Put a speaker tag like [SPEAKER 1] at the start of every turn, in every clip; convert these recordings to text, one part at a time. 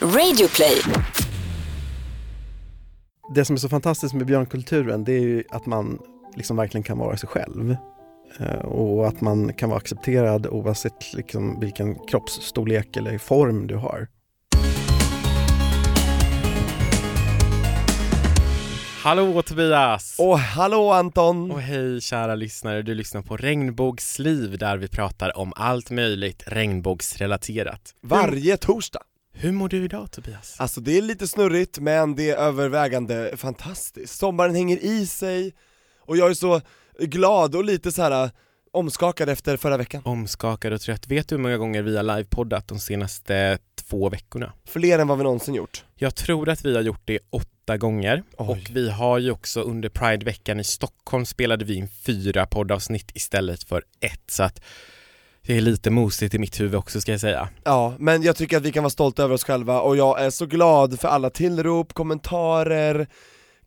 [SPEAKER 1] Radioplay.
[SPEAKER 2] Det som är så fantastiskt med björnkulturen det är ju att man liksom verkligen kan vara sig själv. Eh, Och att man kan vara accepterad oavsett liksom vilken kroppsstorlek eller form du har.
[SPEAKER 3] Hallå Tobias!
[SPEAKER 4] Och hallå Anton!
[SPEAKER 3] Och hej kära lyssnare, du lyssnar på Regnbågsliv där vi pratar om allt möjligt regnbågsrelaterat.
[SPEAKER 4] Varje torsdag!
[SPEAKER 3] Hur mår du idag Tobias?
[SPEAKER 4] Alltså det är lite snurrigt men det är övervägande fantastiskt. Sommaren hänger i sig och jag är så glad och lite så här äh, omskakad efter förra veckan.
[SPEAKER 3] Omskakad och trött. Vet du hur många gånger vi har livepoddat de senaste två veckorna?
[SPEAKER 4] Fler än vad vi någonsin gjort.
[SPEAKER 3] Jag tror att vi har gjort det åtta gånger
[SPEAKER 4] Oj.
[SPEAKER 3] och vi har ju också under Prideveckan i Stockholm spelade vi in fyra poddavsnitt istället för ett så att det är lite mosigt i mitt huvud också ska jag säga.
[SPEAKER 4] Ja, men jag tycker att vi kan vara stolta över oss själva och jag är så glad för alla tillrop, kommentarer,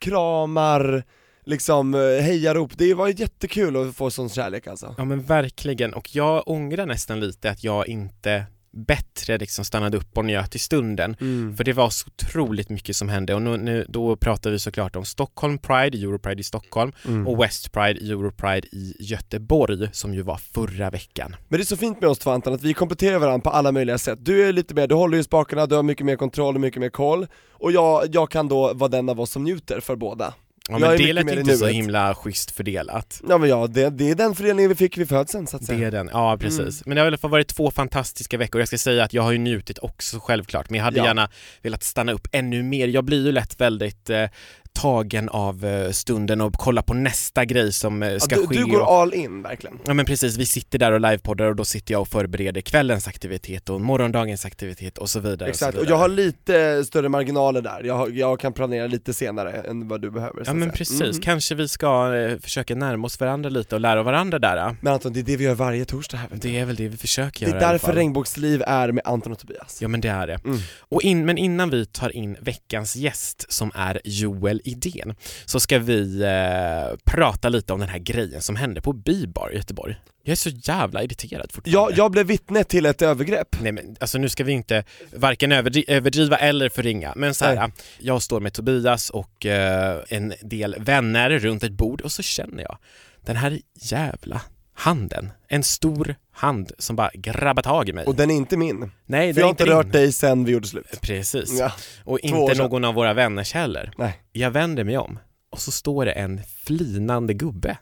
[SPEAKER 4] kramar, liksom eh, hejarop. Det var jättekul att få sån kärlek alltså.
[SPEAKER 3] Ja men verkligen och jag ångrar nästan lite att jag inte bättre liksom stannade upp och njöt i stunden. För det var så otroligt mycket som hände och nu, nu, då pratar vi såklart om Stockholm Pride, Europride i Stockholm
[SPEAKER 4] Mm.
[SPEAKER 3] och West Pride, Europride i Göteborg som ju var förra veckan.
[SPEAKER 4] Men det är så fint med oss två Anton, att vi kompletterar varandra på alla möjliga sätt. Du är lite mer, du håller ju spakarna, du har mycket mer kontroll och mycket mer koll. Och jag, jag kan då vara den av oss som njuter för båda.
[SPEAKER 3] Ja
[SPEAKER 4] Jag
[SPEAKER 3] men
[SPEAKER 4] är
[SPEAKER 3] det
[SPEAKER 4] mycket
[SPEAKER 3] lät
[SPEAKER 4] mer i
[SPEAKER 3] inte så
[SPEAKER 4] nuet.
[SPEAKER 3] himla schysst fördelat.
[SPEAKER 4] Ja men ja, det, det är den fördelningen vi fick vid födseln så att
[SPEAKER 3] Det
[SPEAKER 4] säga.
[SPEAKER 3] är den, ja precis.
[SPEAKER 4] Mm.
[SPEAKER 3] Men det har i alla fall varit två fantastiska veckor. Jag ska säga att jag har ju njutit också självklart, men jag hade
[SPEAKER 4] Ja.
[SPEAKER 3] gärna velat stanna upp ännu mer. Jag blir ju lätt väldigt eh, tagen av eh, stunden och kollar på nästa grej som eh, ska
[SPEAKER 4] ja, du,
[SPEAKER 3] ske.
[SPEAKER 4] du går
[SPEAKER 3] och...
[SPEAKER 4] all in verkligen.
[SPEAKER 3] Ja men precis, vi sitter där och livepoddar och då sitter jag och förbereder kvällens aktivitet och morgondagens aktivitet och så vidare.
[SPEAKER 4] Exakt,
[SPEAKER 3] och, så
[SPEAKER 4] och
[SPEAKER 3] vidare.
[SPEAKER 4] jag har lite större marginaler där. Jag, har- jag kan planera lite senare än vad du behöver. så
[SPEAKER 3] Ja
[SPEAKER 4] att
[SPEAKER 3] men
[SPEAKER 4] säga.
[SPEAKER 3] precis,
[SPEAKER 4] Mhm.
[SPEAKER 3] kanske vi ska eh, försöka närma oss varandra lite och lära av varandra där. eh.
[SPEAKER 4] Men Anton, det är det vi gör varje torsdag här vet du.
[SPEAKER 3] Det är väl det vi försöker
[SPEAKER 4] Det
[SPEAKER 3] göra
[SPEAKER 4] är
[SPEAKER 3] i alla
[SPEAKER 4] därför
[SPEAKER 3] fall.
[SPEAKER 4] Regnbågsliv är med Anton och Tobias.
[SPEAKER 3] Ja men det är det.
[SPEAKER 4] Mm.
[SPEAKER 3] Och in, men innan vi tar in veckans gäst som är Joel Idén så ska vi eh, prata lite om den här grejen som hände på Bibar i Göteborg. Jag är så jävla irriterad
[SPEAKER 4] Jag,
[SPEAKER 3] fortfarande.
[SPEAKER 4] jag blev vittne till ett övergrepp.
[SPEAKER 3] Nej men alltså nu ska vi inte varken överdri- överdriva eller förringa, men så här, jag står med Tobias och eh, en del vänner runt ett bord och så känner jag den här jävla handen, en stor hand som bara grabbar tag i mig.
[SPEAKER 4] Och den är inte min. För
[SPEAKER 3] Nej, den
[SPEAKER 4] jag
[SPEAKER 3] är
[SPEAKER 4] har inte
[SPEAKER 3] din.
[SPEAKER 4] rört dig sen vi gjorde slut.
[SPEAKER 3] Precis.
[SPEAKER 4] Ja.
[SPEAKER 3] Och
[SPEAKER 4] år
[SPEAKER 3] inte
[SPEAKER 4] sedan.
[SPEAKER 3] någon av våra vänners heller.
[SPEAKER 4] Nej.
[SPEAKER 3] Jag vänder mig om och så står det en flinande gubbe.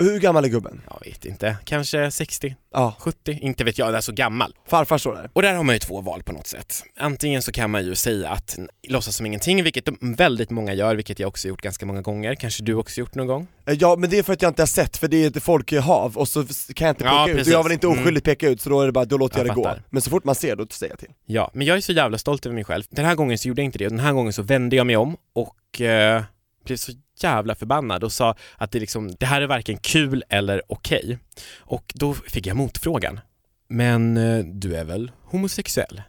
[SPEAKER 4] Hur gammal är gubben?
[SPEAKER 3] Jag vet inte, kanske 60,
[SPEAKER 4] Ja,
[SPEAKER 3] 70, inte vet jag, det är så gammal.
[SPEAKER 4] farfar står där.
[SPEAKER 3] Och där har man ju två val på något sätt. Antingen så kan man ju säga att n- låtsas som ingenting, vilket de- väldigt många gör, vilket jag också gjort ganska många gånger, kanske du också gjort någon gång.
[SPEAKER 4] Eh, Ja men det är för att jag inte har sett, för det är ett folkhav och så f- kan jag inte peka
[SPEAKER 3] Ja,
[SPEAKER 4] ut,
[SPEAKER 3] precis.
[SPEAKER 4] och jag vill inte oskyldigt
[SPEAKER 3] Mm.
[SPEAKER 4] peka ut så då är det bara, då låter jag,
[SPEAKER 3] Jag
[SPEAKER 4] det gå.
[SPEAKER 3] fattar.
[SPEAKER 4] Men så fort man ser då säger jag till.
[SPEAKER 3] Ja, men jag är så jävla stolt över mig själv. Den här gången så gjorde jag inte det och den här gången så vände jag mig om och eh, blev så jävla förbannad och sa att det, liksom, det här är varken kul eller okej. Och då fick jag motfrågan. Men eh, du är väl homosexuell?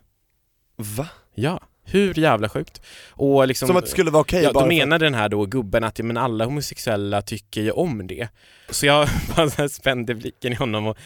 [SPEAKER 4] Va?
[SPEAKER 3] Ja. Hur jävla sjukt? Och liksom,
[SPEAKER 4] Som att det skulle vara okej
[SPEAKER 3] ja,
[SPEAKER 4] bara
[SPEAKER 3] då
[SPEAKER 4] för-
[SPEAKER 3] menade den här då gubben att ja, men alla homosexuella tycker ju om det. Så jag bara så här spände blicken i honom och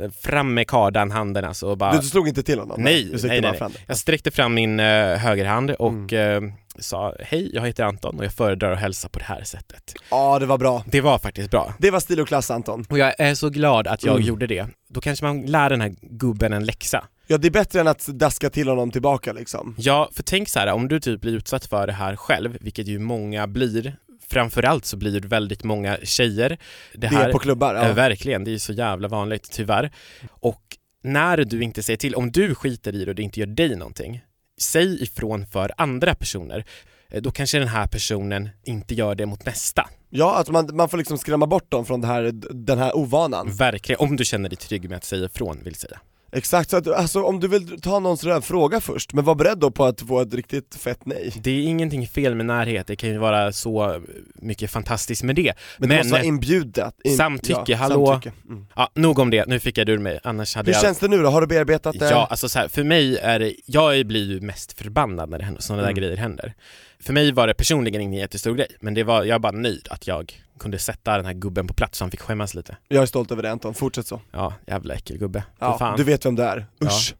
[SPEAKER 3] eh, fram med kardan, handen alltså och bara...
[SPEAKER 4] Du, du slog inte till honom?
[SPEAKER 3] Nej,
[SPEAKER 4] du sträckte
[SPEAKER 3] nej, nej,
[SPEAKER 4] bara
[SPEAKER 3] nej.
[SPEAKER 4] fram den.
[SPEAKER 3] Jag sträckte fram min eh, högerhand och
[SPEAKER 4] Mm.
[SPEAKER 3] eh, sa hej, jag heter Anton och jag föredrar att hälsa på det här sättet.
[SPEAKER 4] Ja det var bra.
[SPEAKER 3] Det var faktiskt bra.
[SPEAKER 4] Det var stil och klass Anton.
[SPEAKER 3] Och jag är så glad att jag
[SPEAKER 4] Mm.
[SPEAKER 3] gjorde det. Då kanske man lär den här gubben en läxa.
[SPEAKER 4] Ja det är bättre än att daska till honom tillbaka liksom.
[SPEAKER 3] Ja, för tänk så här, om du typ blir utsatt för det här själv, vilket ju många blir, framförallt så blir det väldigt många tjejer. Det
[SPEAKER 4] Det,
[SPEAKER 3] här,
[SPEAKER 4] är på klubbar,
[SPEAKER 3] Ja.
[SPEAKER 4] ja.
[SPEAKER 3] Eh, Verkligen, det är ju så jävla vanligt tyvärr. Och när du inte säger till, om du skiter i det och det inte gör dig någonting, säg ifrån för andra personer. Eh, Då kanske den här personen inte gör det mot nästa.
[SPEAKER 4] ja att man, man får liksom skrämma bort dem från det här, den här
[SPEAKER 3] Mm.
[SPEAKER 4] ovanan.
[SPEAKER 3] Verkligen, om du känner dig trygg med att säga ifrån vill säga.
[SPEAKER 4] Exakt, så att, alltså om du vill ta någons röv, fråga först, men var beredd då på att få ett riktigt fett nej.
[SPEAKER 3] Det är ingenting fel med närhet, det kan ju vara så mycket fantastiskt med det.
[SPEAKER 4] Men, det måste vara inbjudet. In,
[SPEAKER 3] Samtycke, hallå?
[SPEAKER 4] Samtycke. Mm.
[SPEAKER 3] ja, nog om det, nu fick jag det ur mig, annars hade
[SPEAKER 4] Hur
[SPEAKER 3] jag...
[SPEAKER 4] känns det nu då? Har du bearbetat det?
[SPEAKER 3] Ja, alltså så här, för mig är det, jag blir ju mest förbannad när det händer, sådana där
[SPEAKER 4] Mm.
[SPEAKER 3] grejer händer. För mig var det personligen ingen jättestor grej, men det var, jag var bara nöjd att jag kunde sätta den här gubben på plats så han fick skämmas lite.
[SPEAKER 4] Jag är stolt över det Anton, fortsätt så.
[SPEAKER 3] Ja, jävla äckelgubbe. Fy
[SPEAKER 4] Ja,
[SPEAKER 3] fan.
[SPEAKER 4] du vet vem det är, usch.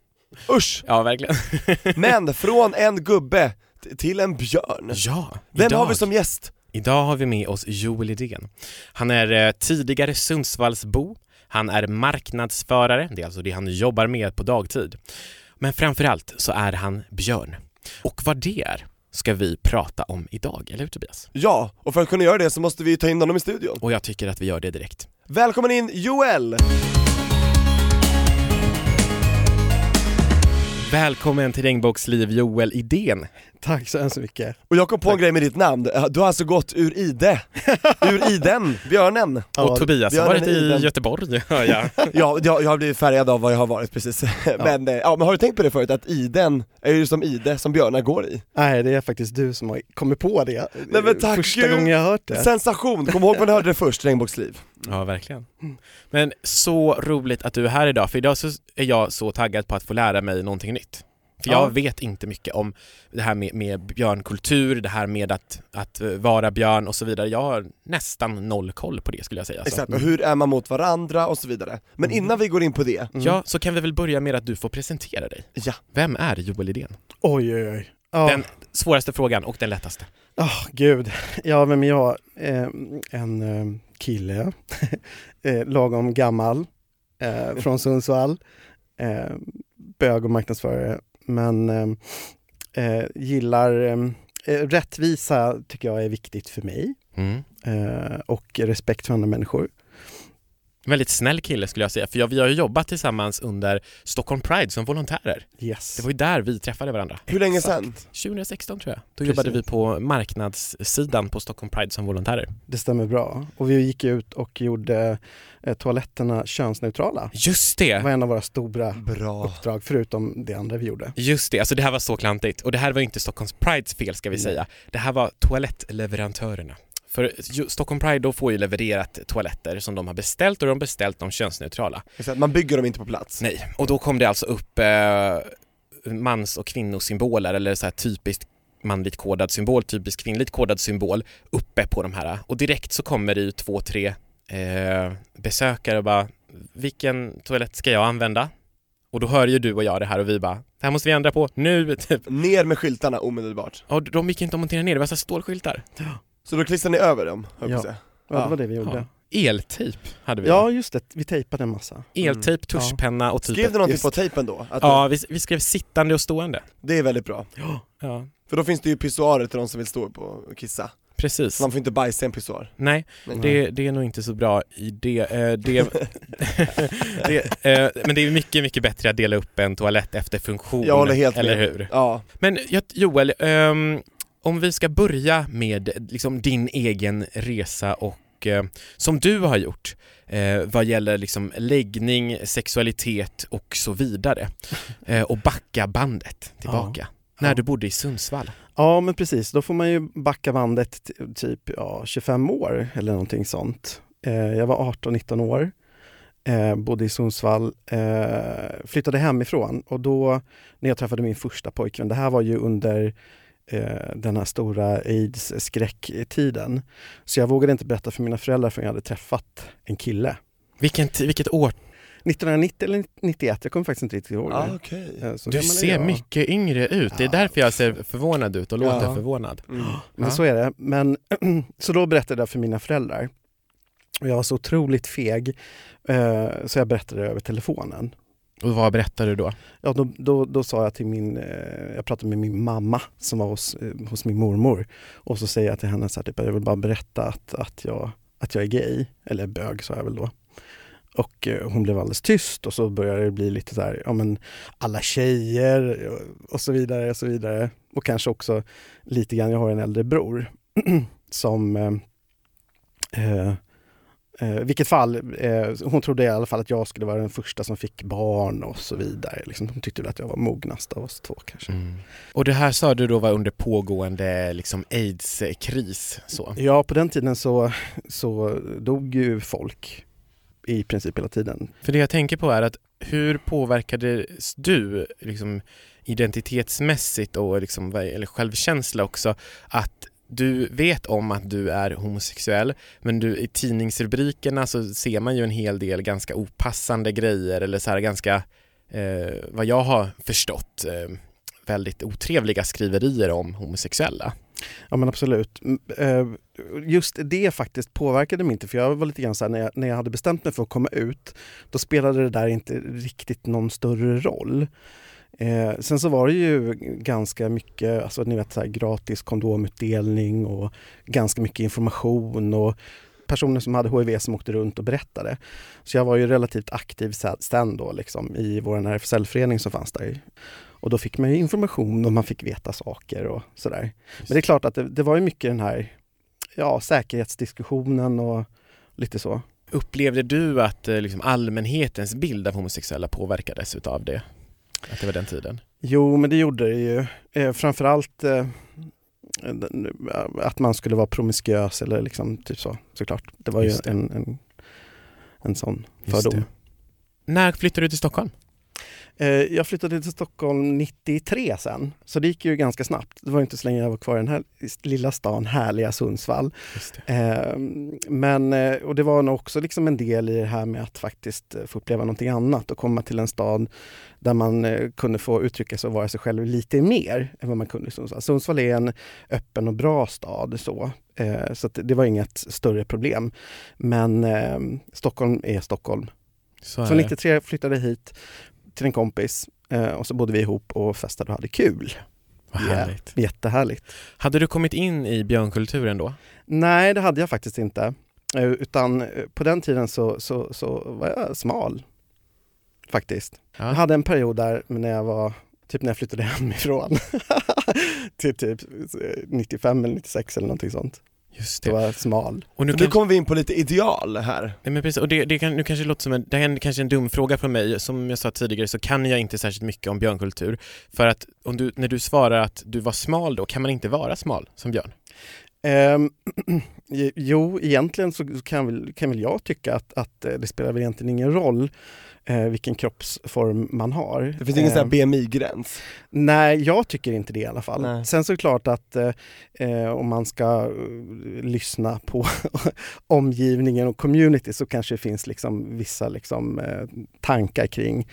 [SPEAKER 4] Usch!
[SPEAKER 3] Ja, verkligen.
[SPEAKER 4] Men från en gubbe t- till en björn.
[SPEAKER 3] Ja,
[SPEAKER 4] Vem
[SPEAKER 3] idag,
[SPEAKER 4] har vi som gäst?
[SPEAKER 3] idag har vi med oss Joel Idén. Han är eh, tidigare Sundsvallsbo, han är marknadsförare, det är alltså det han jobbar med på dagtid. Men framförallt så är han björn. Och vad det är ska vi prata om idag, eller hur Tobias?
[SPEAKER 4] Ja, och för att kunna göra det så måste vi ta in honom i studion.
[SPEAKER 3] Och jag tycker att vi gör det direkt.
[SPEAKER 4] Välkommen in Joel!
[SPEAKER 3] Välkommen till Regnbågsliv Joel Idén.
[SPEAKER 2] Tack så hemskt mycket.
[SPEAKER 4] Och jag kom på en grej med ditt namn, du har alltså gått ur ide, ur iden, björnen.
[SPEAKER 3] Och Tobias
[SPEAKER 4] vi
[SPEAKER 3] har
[SPEAKER 4] har
[SPEAKER 3] varit
[SPEAKER 4] den i
[SPEAKER 3] i
[SPEAKER 4] den.
[SPEAKER 3] Göteborg, hör jag.
[SPEAKER 4] Ja, jag, jag har blivit färgad av vad jag har varit precis. Men, eh, ja, men har du tänkt på det förut, att iden är ju som ide som björnar går i?
[SPEAKER 2] Nej, det är faktiskt du som har kommit på det.
[SPEAKER 4] Nej, men tack
[SPEAKER 2] Första
[SPEAKER 4] Gud.
[SPEAKER 2] gången jag har hört det.
[SPEAKER 4] Sensation! Kom ihåg när du hörde det först, Regnbågsliv.
[SPEAKER 3] Ja, verkligen. Men så roligt att du är här idag, för idag så är jag så taggad på att få lära mig någonting nytt. För jag
[SPEAKER 4] Ja.
[SPEAKER 3] vet inte mycket om det här med, med björnkultur, det här med att, att eh, vara björn och så vidare. Jag har nästan noll koll på det skulle jag säga. Så.
[SPEAKER 4] Exakt, och hur är man mot varandra och så vidare. Men innan vi går in på det,
[SPEAKER 2] Mm.
[SPEAKER 3] Mm. Ja, så kan vi väl börja med att du får presentera dig.
[SPEAKER 4] ja,
[SPEAKER 3] Vem är Joel Idén?
[SPEAKER 2] Oj, oj, oj. Ja.
[SPEAKER 3] Den svåraste frågan och den lättaste.
[SPEAKER 2] Oh, gud. Ja, men jag eh, en eh, kille, eh, lagom gammal, eh, från Sundsvall, eh, bög och marknadsförare, men eh, eh, gillar eh, eh, rättvisa tycker jag är viktigt för mig
[SPEAKER 3] Mm.
[SPEAKER 2] eh, och respekt för andra människor.
[SPEAKER 3] En väldigt snäll kille skulle jag säga, för jag, vi har ju jobbat tillsammans under Stockholm Pride som volontärer.
[SPEAKER 2] Yes.
[SPEAKER 3] Det var ju där vi träffade varandra.
[SPEAKER 4] hur länge
[SPEAKER 2] Exakt.
[SPEAKER 4] sen?
[SPEAKER 3] 2016 tror jag. Då
[SPEAKER 2] Precis.
[SPEAKER 3] jobbade vi på marknadssidan på Stockholm Pride som volontärer.
[SPEAKER 2] Det stämmer bra. Och vi gick ut och gjorde eh, toaletterna könsneutrala.
[SPEAKER 3] Just
[SPEAKER 2] Det
[SPEAKER 3] det!
[SPEAKER 2] var en av våra stora
[SPEAKER 4] Bra.
[SPEAKER 2] uppdrag, förutom det andra vi gjorde.
[SPEAKER 3] Just det, alltså det här var så klantigt. Och det här var ju inte Stockholms Prides fel ska vi
[SPEAKER 2] Nej.
[SPEAKER 3] säga. Det här var toalettleverantörerna. För ju- Stockholm Pride då får ju levererat toaletter som de har beställt och de har beställt de könsneutrala.
[SPEAKER 4] Exakt, man bygger dem inte på plats.
[SPEAKER 3] Nej, och då kom det alltså upp eh, mans och kvinnosymboler eller så här typiskt manligt kodad symbol, typiskt kvinnligt kodad symbol uppe på de här och direkt så kommer det ju två, tre eh, besökare och bara vilken toalett ska jag använda? Och då hör ju du och jag det här och vi bara det här måste vi ändra på nu typ.
[SPEAKER 4] Ner med skyltarna omedelbart.
[SPEAKER 3] Och de gick inte att montera ner, det var så här stålskyltar.
[SPEAKER 4] Så då klistrar ni över dem, höll jag på att säga.
[SPEAKER 2] Ja, det
[SPEAKER 4] Ja.
[SPEAKER 2] var det vi gjorde.
[SPEAKER 3] Ja. Eltejp hade vi. Mm.
[SPEAKER 2] Ja, just det. Vi tejpade en massa.
[SPEAKER 3] Eltejp, tuschpenna och typ
[SPEAKER 4] Skrev du någonting
[SPEAKER 2] Just.
[SPEAKER 4] på tejpen då? Att
[SPEAKER 3] Ja, vi, vi skrev sittande och stående.
[SPEAKER 4] Det är väldigt bra.
[SPEAKER 3] Ja,
[SPEAKER 4] För då finns det ju pissoarer till de som vill stå upp och kissa.
[SPEAKER 3] precis.
[SPEAKER 4] Så man får inte bajsa i en pissoar.
[SPEAKER 3] Nej,
[SPEAKER 4] Nej.
[SPEAKER 3] Det, det är nog inte så bra idé. Eh, det, det, eh, men det är mycket, mycket bättre att dela upp en toalett efter funktion.
[SPEAKER 4] Jag håller helt
[SPEAKER 3] Oh, eller
[SPEAKER 4] med.
[SPEAKER 3] hur?
[SPEAKER 4] Ja,
[SPEAKER 3] Men jag- Joel, ehm, om vi ska börja med liksom, din egen resa och eh, som du har gjort eh, vad gäller liksom, läggning, sexualitet och så vidare. Eh, och backa bandet tillbaka. När
[SPEAKER 2] Ja.
[SPEAKER 3] du bodde i Sundsvall.
[SPEAKER 2] Ja, men precis. Då får man ju backa bandet t- typ ja, 25 år eller någonting sånt. Eh, jag var 18-19 år, eh, bodde i Sundsvall, eh, flyttade hemifrån och då när jag träffade min första pojkvän, det här var ju under eh, den här stora aids-skräcktiden. Så jag vågade inte berätta för mina föräldrar förrän jag hade träffat en kille.
[SPEAKER 3] Vilken, t- vilket år?
[SPEAKER 2] 1990 eller 91, jag kommer faktiskt inte riktigt
[SPEAKER 3] Oh,
[SPEAKER 2] ihåg.
[SPEAKER 4] ah,
[SPEAKER 2] nu.
[SPEAKER 4] okej.
[SPEAKER 2] Eh, så
[SPEAKER 3] Du
[SPEAKER 2] gammal är
[SPEAKER 3] ser
[SPEAKER 2] jag.
[SPEAKER 3] mycket yngre ut. Det är
[SPEAKER 2] Ja.
[SPEAKER 3] därför jag ser förvånad ut och låter
[SPEAKER 4] Ja.
[SPEAKER 3] förvånad.
[SPEAKER 4] Mm.
[SPEAKER 2] Men
[SPEAKER 3] Ja.
[SPEAKER 2] så är det. Men, så då berättade jag för mina föräldrar. Och jag var så otroligt feg, eh, så jag berättade över telefonen.
[SPEAKER 3] Och vad berättar du då?
[SPEAKER 2] Ja, då, då, då sa jag till min, eh, jag pratade med min mamma som var hos, eh, hos min mormor. Och så säger jag till henne så här, typ, jag vill bara berätta att, att, jag, att jag är gay, eller bög sa jag väl då. Och eh, hon blev alldeles tyst och så började det bli lite så här, ja men alla tjejer och- och så vidare och så vidare. Och kanske också lite grann, jag har en äldre bror som eh, eh, eh, vilket fall, eh, hon trodde i alla fall att jag skulle vara den första som fick barn och så vidare. Liksom, hon tyckte väl att jag var mognast av oss två kanske.
[SPEAKER 3] Och det här sa du då var under pågående liksom aids-kris så?
[SPEAKER 2] Ja, på den tiden så, så dog ju folk i princip hela tiden.
[SPEAKER 3] För det jag tänker på är att hur påverkades du liksom, identitetsmässigt och liksom, vad- eller självkänsla också att du vet om att du är homosexuell men du, i tidningsrubrikerna så ser man ju en hel del ganska opassande grejer eller så här ganska eh, vad jag har förstått, eh, väldigt otrevliga skriverier om homosexuella.
[SPEAKER 2] Ja men absolut. Mm, eh, Just det faktiskt påverkade mig inte för jag var lite grann så här, när jag, när jag hade bestämt mig för att komma ut då spelade det där inte riktigt någon större roll. Eh, sen så var det ju ganska mycket alltså, ni vet, så här, gratis kondomutdelning och ganska mycket information och personer som hade HIV som åkte runt och berättade. Så jag var ju relativt aktiv se- sen då liksom, i vår RFSL-förening som fanns där. i- Och då fick man ju information och man fick veta saker och sådär. Men det är klart att det, det var ju mycket den här ja, säkerhetsdiskussionen och lite så.
[SPEAKER 3] Upplevde du att eh, liksom, allmänhetens bild av homosexuella påverkades utav det? Att det var den tiden?
[SPEAKER 2] Jo, men det gjorde det ju. Eh, framförallt eh, den- att man skulle vara promiskuös eller liksom typ så, såklart. Det var ju
[SPEAKER 3] Just det.
[SPEAKER 2] en, en, en sån
[SPEAKER 3] Just
[SPEAKER 2] fördom.
[SPEAKER 3] När flyttade du till Stockholm?
[SPEAKER 2] Eh, jag flyttade till Stockholm 93 sen, så det gick ju ganska snabbt. Det var inte så länge jag var kvar i den här lilla stan, härliga Sundsvall.
[SPEAKER 3] Just det.
[SPEAKER 2] Eh, men, eh, och det var nog också liksom en del i det här med att faktiskt eh, få uppleva någonting annat och komma till en stad där man eh, kunde få uttrycka sig och vara sig själv lite mer än vad man kunde i Sundsvall. Sundsvall är en öppen och bra stad så, eh, så att det var inget större problem. Men eh, Stockholm är Stockholm.
[SPEAKER 3] Så,
[SPEAKER 2] Så
[SPEAKER 3] är det.
[SPEAKER 2] 93 flyttade jag hit till en kompis eh, och så bodde vi ihop och festade och hade kul.
[SPEAKER 3] Vad
[SPEAKER 2] Ja.
[SPEAKER 3] härligt.
[SPEAKER 2] Jättehärligt.
[SPEAKER 3] Hade du kommit in i björnkulturen då?
[SPEAKER 2] Nej, det hade jag faktiskt inte. Eh, Utan eh, på den tiden så, så, så var jag smal. Faktiskt.
[SPEAKER 3] Ja.
[SPEAKER 2] Jag hade en period där när jag var, typ när jag flyttade hemifrån. till typ eh, 95 eller 96 eller någonting sånt.
[SPEAKER 3] Just
[SPEAKER 4] Typ.
[SPEAKER 2] Så var jag smal.
[SPEAKER 3] Och nu
[SPEAKER 4] Nu
[SPEAKER 3] kan...
[SPEAKER 4] kommer vi in på lite ideal här.
[SPEAKER 3] Nej, men precis, och det, det kan, nu kanske det låter som en, det här är kanske en dum fråga från mig. Som jag sa tidigare så kan jag inte särskilt mycket om björnkultur. För att om du, när du svarar att du var smal då, kan man inte vara smal som björn?
[SPEAKER 2] Ehm, jo, egentligen så kan väl, kan väl jag tycka att, att eh, det spelar väl egentligen ingen roll eh, vilken kroppsform man har.
[SPEAKER 4] Det finns ingen sån
[SPEAKER 3] Eh.
[SPEAKER 4] här
[SPEAKER 2] Ehm,
[SPEAKER 4] BMI-gräns.
[SPEAKER 2] Nej, jag tycker inte det i alla fall.
[SPEAKER 4] Nej.
[SPEAKER 2] Sen så är det klart att eh, eh, om man ska eh, lyssna på omgivningen och community så kanske det finns liksom vissa liksom, eh, tankar kring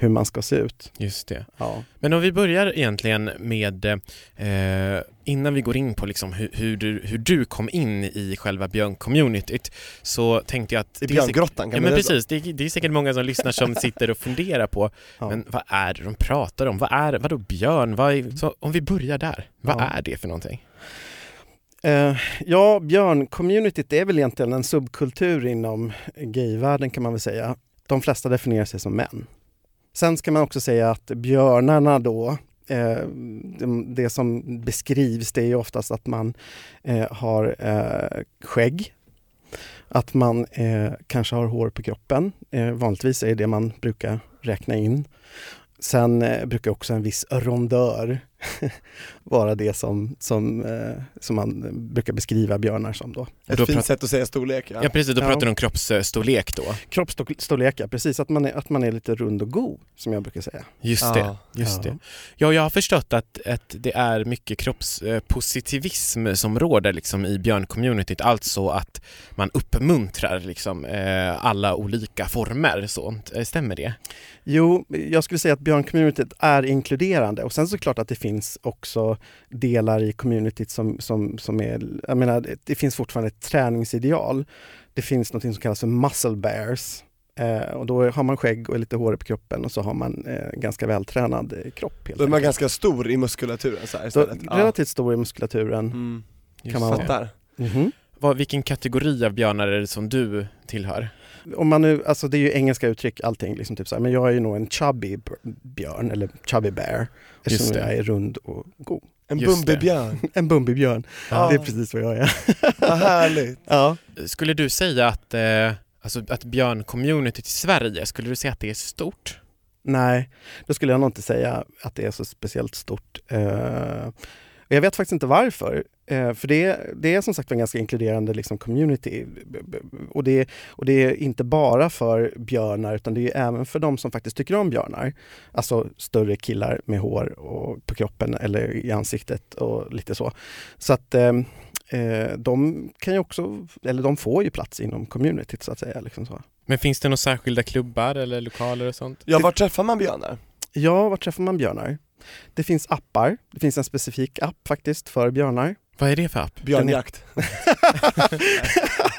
[SPEAKER 2] hur man ska se ut.
[SPEAKER 3] Just det.
[SPEAKER 2] Ja.
[SPEAKER 3] Men om vi börjar egentligen med, eh, innan vi går in på liksom hur, hur, du, hur du kom in i själva björncommunityt, så tänkte jag att...
[SPEAKER 4] I
[SPEAKER 3] det är säkert-
[SPEAKER 4] björngrottan
[SPEAKER 3] Ja
[SPEAKER 4] kan man
[SPEAKER 3] men
[SPEAKER 4] säga så.
[SPEAKER 3] precis, det är, det är säkert många som lyssnar som sitter och funderar på,
[SPEAKER 2] Ja.
[SPEAKER 3] men vad är det de pratar om? Vad är, vadå björn? Vad är, så om vi börjar där, vad
[SPEAKER 2] Ja.
[SPEAKER 3] är det för någonting?
[SPEAKER 2] Eh, ja, björncommunityt är väl egentligen en subkultur inom gayvärlden kan man väl säga. De flesta definierar sig som män. Sen ska man också säga att björnarna då, eh, de- det som beskrivs det är ju oftast att man eh, har eh, skägg, att man eh, kanske har hår på kroppen. Eh, vanligtvis är det det man brukar räkna in. Sen eh, brukar också en viss rondör vara det som, som, eh, som man brukar beskriva björnar som då.
[SPEAKER 3] Då
[SPEAKER 4] Ett
[SPEAKER 3] pratar-
[SPEAKER 4] fint sätt att säga storlek ja.
[SPEAKER 3] Ja precis, då
[SPEAKER 2] Ja.
[SPEAKER 3] pratar du om kroppsstorlek då.
[SPEAKER 2] Kroppsstorlekar, precis, att man, är, att man är lite rund och god som jag brukar säga.
[SPEAKER 3] Just det. Just
[SPEAKER 2] Ja.
[SPEAKER 3] det. Ja, jag har förstått att, att det är mycket kroppspositivism som råder liksom, i björncommunityt, alltså att man uppmuntrar liksom, eh, alla olika former. Sånt. Eh, Stämmer det?
[SPEAKER 2] Jo, jag skulle säga att björncommunityt är inkluderande och sen såklart att det finns också delar i communityt som, som, som är, jag menar det- det finns fortfarande ett träningsideal. Det finns något som kallas för muscle bears eh, och då har man skägg och lite hår på kroppen och så har man eh, ganska vältränad eh, kropp. Helt
[SPEAKER 4] Då är man
[SPEAKER 2] enkelt.
[SPEAKER 4] ganska stor i muskulaturen så här
[SPEAKER 2] så,
[SPEAKER 4] istället. Ja.
[SPEAKER 2] relativt stor i muskulaturen.
[SPEAKER 4] Mm.
[SPEAKER 3] Just
[SPEAKER 2] man
[SPEAKER 3] det.
[SPEAKER 2] vara.
[SPEAKER 4] Fattar.
[SPEAKER 2] Mhm.
[SPEAKER 3] Vad, vilken kategori av björnar är det som du tillhör?
[SPEAKER 2] Om man nu, alltså det är ju engelska uttryck allting, liksom typ så här, men jag är ju nog en chubby br- björn eller chubby bear
[SPEAKER 3] Just
[SPEAKER 2] eftersom
[SPEAKER 3] det.
[SPEAKER 2] jag är rund och god.
[SPEAKER 4] En
[SPEAKER 3] Just det.
[SPEAKER 4] Bumbibjörn.
[SPEAKER 2] En bumbibjörn,
[SPEAKER 4] Ja.
[SPEAKER 2] det är precis vad jag är.
[SPEAKER 4] Vad härligt.
[SPEAKER 2] Ja.
[SPEAKER 3] Skulle du säga att, eh, alltså, att björncommunityt i Sverige, skulle du säga att det är stort?
[SPEAKER 2] Nej, då skulle jag nog inte säga att det är så speciellt stort. Eh, och jag vet faktiskt inte varför, eh, för det, det är som sagt en ganska inkluderande liksom, community. B- b- Och det, och det är inte bara för björnar, utan det är även för de som faktiskt tycker om björnar. Alltså större killar med hår och på kroppen eller i ansiktet och lite så. Så att eh, eh, de kan ju också, eller de får ju plats inom communityt så att säga. Liksom så.
[SPEAKER 3] Men finns det några särskilda klubbar eller lokaler och sånt?
[SPEAKER 4] Ja, var träffar man björnar?
[SPEAKER 2] Ja, var träffar man björnar? Det finns appar. Det finns en specifik app faktiskt för björnar.
[SPEAKER 3] Vad är det för app?
[SPEAKER 4] Björnjakt.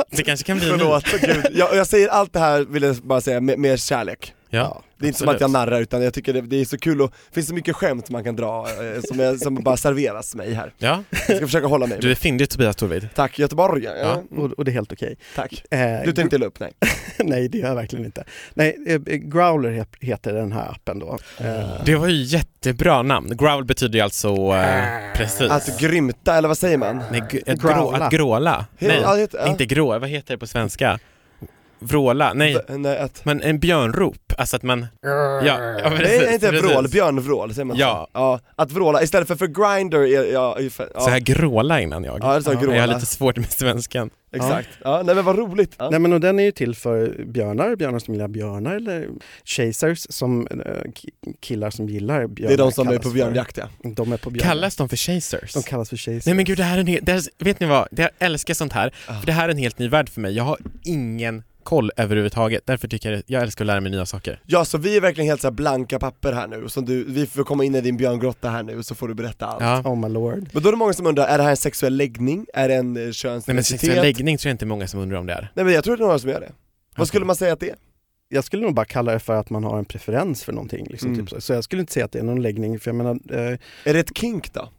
[SPEAKER 3] Det kanske kan bli en ny.
[SPEAKER 4] Förlåt, gud. Jag, jag säger allt det här, vill jag bara säga, med, med kärlek.
[SPEAKER 3] Ja.
[SPEAKER 4] Det är inte som
[SPEAKER 3] Absolut.
[SPEAKER 4] att jag narrar utan jag tycker det, det är så kul och finns så mycket skämt man kan dra eh, som, jag, som bara serveras mig här.
[SPEAKER 3] ja,
[SPEAKER 4] Jag ska försöka hålla mig.
[SPEAKER 3] du är fyndig Tobias Torvid.
[SPEAKER 4] Tack Göteborg, ja,
[SPEAKER 3] Ja.
[SPEAKER 2] Och, och det är helt okej.
[SPEAKER 4] tack.
[SPEAKER 2] Eh,
[SPEAKER 4] Du tänkte illa upp, nej.
[SPEAKER 2] nej, det gör jag verkligen inte. Nej, eh, Growler he- heter den här appen då. Eh,
[SPEAKER 3] Det var ju jättebra namn. Growl betyder ju alltså,
[SPEAKER 4] Äh.
[SPEAKER 3] eh, precis.
[SPEAKER 4] Att grymta, eller vad säger man?
[SPEAKER 3] Nej, g- att, grå,
[SPEAKER 2] Growla.
[SPEAKER 3] att gråla. Nej,
[SPEAKER 4] Ja, det heter- ja.
[SPEAKER 3] inte grå, vad heter det på svenska? Vråla, nej.
[SPEAKER 4] V- Nej, att...
[SPEAKER 3] Men en björnrop, alltså att man... Ja, ja
[SPEAKER 4] Äh.
[SPEAKER 3] precis.
[SPEAKER 4] Nej, inte
[SPEAKER 3] precis.
[SPEAKER 4] vrål, björnvrål säger man
[SPEAKER 3] Ja.
[SPEAKER 4] så. ja, att vråla istället för för grinder, är- ja, är för-
[SPEAKER 3] Så
[SPEAKER 4] ja
[SPEAKER 3] här gråla innan jag.
[SPEAKER 4] Ja, det sa gråla.
[SPEAKER 3] Jag har lite svårt med svenskan.
[SPEAKER 4] exakt. Ja, nej men vad roligt. Ja.
[SPEAKER 2] Nej men och den är ju till för björnar, björnar som gillar björnar eller chasers som eh, ki- killar som gillar björnar.
[SPEAKER 4] Det är de som är
[SPEAKER 2] kallas
[SPEAKER 4] på
[SPEAKER 2] för.
[SPEAKER 4] björnjakt ja.
[SPEAKER 2] De är på björnar.
[SPEAKER 3] Kallas de för chasers?
[SPEAKER 2] De kallas för chasers.
[SPEAKER 3] Nej men gud, det här är en helt, det här, vet ni vad? Det- Jag älskar sånt här,
[SPEAKER 4] Ah.
[SPEAKER 3] för det här är en helt ny värld för mig. Jag har ingen koll överhuvudtaget, därför tycker jag, det- jag älskar att lära mig nya saker.
[SPEAKER 4] Ja, så vi är verkligen helt så här blanka papper här nu, som du, vi får komma in i din björngrotta här nu så får du berätta allt.
[SPEAKER 3] Ja.
[SPEAKER 2] Oh my lord.
[SPEAKER 4] Men då är det många som undrar, är det här en sexuell läggning? Är det en eh,
[SPEAKER 3] Nej men
[SPEAKER 4] könsidentitet?
[SPEAKER 3] sexuell läggning tror jag inte många som undrar om det är.
[SPEAKER 4] Nej men jag tror det är några som gör det. Vad skulle man säga att det är?
[SPEAKER 2] Jag skulle nog bara kalla det för att man har en preferens för någonting. Liksom,
[SPEAKER 4] Mm.
[SPEAKER 2] typ så. så jag skulle inte säga att det är någon läggning, för jag menar, eh,
[SPEAKER 4] Är det ett kink
[SPEAKER 3] Mm.
[SPEAKER 4] då?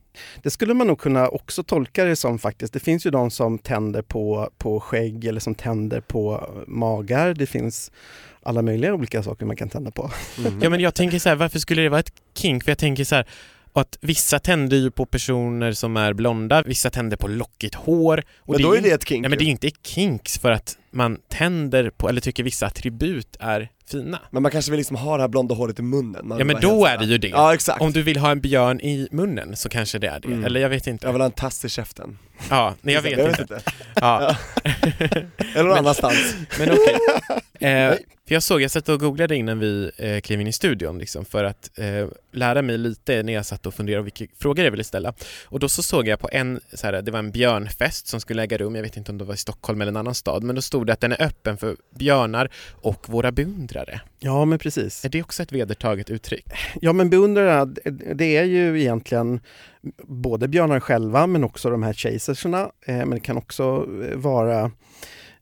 [SPEAKER 2] det skulle man nog kunna också tolka det som faktiskt. Det finns ju de som tänder på, på skägg eller som tänder på magar. Det finns alla möjliga olika saker man kan tända på.
[SPEAKER 4] Mm.
[SPEAKER 3] Ja men jag tänker så här, varför skulle det vara ett kink? För jag tänker så här, att vissa tänder ju på personer som är blonda, vissa tänder på lockigt hår. Och
[SPEAKER 4] men
[SPEAKER 3] det
[SPEAKER 4] då är
[SPEAKER 3] ju-
[SPEAKER 4] det ett kink
[SPEAKER 3] Nej men det
[SPEAKER 4] ju.
[SPEAKER 3] är ju inte kinks för att man tänder på, eller tycker vissa attribut är fina.
[SPEAKER 4] Men man kanske vill liksom ha det här blonda håret i munnen. Man
[SPEAKER 3] Ja men
[SPEAKER 4] vill vara
[SPEAKER 3] då är
[SPEAKER 4] helt
[SPEAKER 3] det
[SPEAKER 4] så
[SPEAKER 3] ju det.
[SPEAKER 4] här- Ja exakt.
[SPEAKER 3] Om du vill ha en björn i munnen så kanske det är det,
[SPEAKER 4] Mm.
[SPEAKER 3] eller jag vet inte.
[SPEAKER 4] Jag vill ha en tass i käften.
[SPEAKER 3] Ja, nej jag
[SPEAKER 4] Till
[SPEAKER 3] vet
[SPEAKER 4] exempel.
[SPEAKER 3] inte. Ja.
[SPEAKER 4] Eller någon annanstans.
[SPEAKER 3] Men okej. Eh, för jag såg, jag satt och googlade innan vi eh, klev in i studion liksom, för att eh, lära mig lite när jag satt och funderade på vilka frågor jag ville ställa. Och då så såg jag på en, så här, det var en björnfest som skulle äga rum, jag vet inte om det var i Stockholm eller en annan stad, men då stod det att den är öppen för björnar och våra beundrare.
[SPEAKER 2] Ja, men precis.
[SPEAKER 3] Är det också ett vedertaget uttryck?
[SPEAKER 2] Ja men beundrare, det- det är ju egentligen både björnar själva men också de här chaserserna. Eh, Men det kan också eh, vara,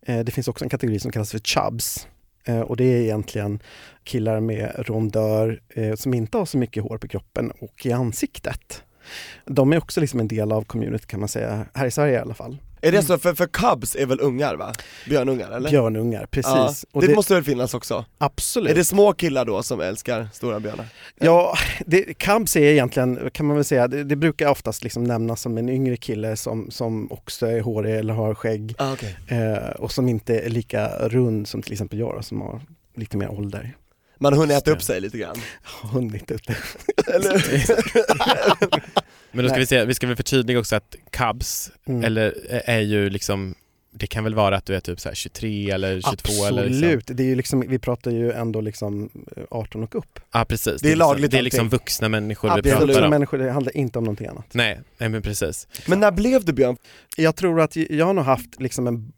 [SPEAKER 2] eh, det finns också en kategori som kallas för chubs. Eh, Och det är egentligen killar med rondör eh, som inte har så mycket hår på kroppen och i ansiktet. De är också liksom en del av communityt kan man säga, här i Sverige i alla fall.
[SPEAKER 4] Är det så, för, för cubs är väl ungar va? Björnungar eller?
[SPEAKER 2] Björnungar, precis.
[SPEAKER 4] Ja.
[SPEAKER 2] Och
[SPEAKER 4] det,
[SPEAKER 2] det,
[SPEAKER 4] måste väl finnas också?
[SPEAKER 2] absolut.
[SPEAKER 4] Är det små killar då som älskar stora björnar?
[SPEAKER 2] Ja, det, Cubs är egentligen, kan man väl säga, det, det brukar oftast liksom nämnas som en yngre kille som, som också är hårig eller har skägg
[SPEAKER 4] Ah, okay.
[SPEAKER 2] eh, och som inte är lika rund som till exempel jag då, som har lite mer ålder.
[SPEAKER 4] Man har hunnit äta
[SPEAKER 3] det.
[SPEAKER 4] upp sig lite grann.
[SPEAKER 2] Har hunnit ut det.
[SPEAKER 4] Eller?
[SPEAKER 3] Men då ska
[SPEAKER 2] Nej.
[SPEAKER 3] vi säga, vi ska väl förtydliga också att cubs,
[SPEAKER 2] Mm.
[SPEAKER 3] eller eh, är ju liksom, det kan väl vara att du är typ så här 23 eller 22 eller liksom.
[SPEAKER 2] Absolut, det är ju liksom, vi pratar ju ändå liksom eh, 18 och upp.
[SPEAKER 3] Ja precis.
[SPEAKER 4] Det är lagligt
[SPEAKER 3] liksom, Det är liksom
[SPEAKER 4] allting.
[SPEAKER 3] vuxna människor vi
[SPEAKER 2] Det är
[SPEAKER 4] Absolut.
[SPEAKER 3] pratar
[SPEAKER 2] vuxna
[SPEAKER 3] om.
[SPEAKER 2] människor, det handlar inte om någonting annat.
[SPEAKER 3] Nej, nej men precis.
[SPEAKER 4] Men när blev du björn?
[SPEAKER 2] Jag tror att jag har nog haft liksom en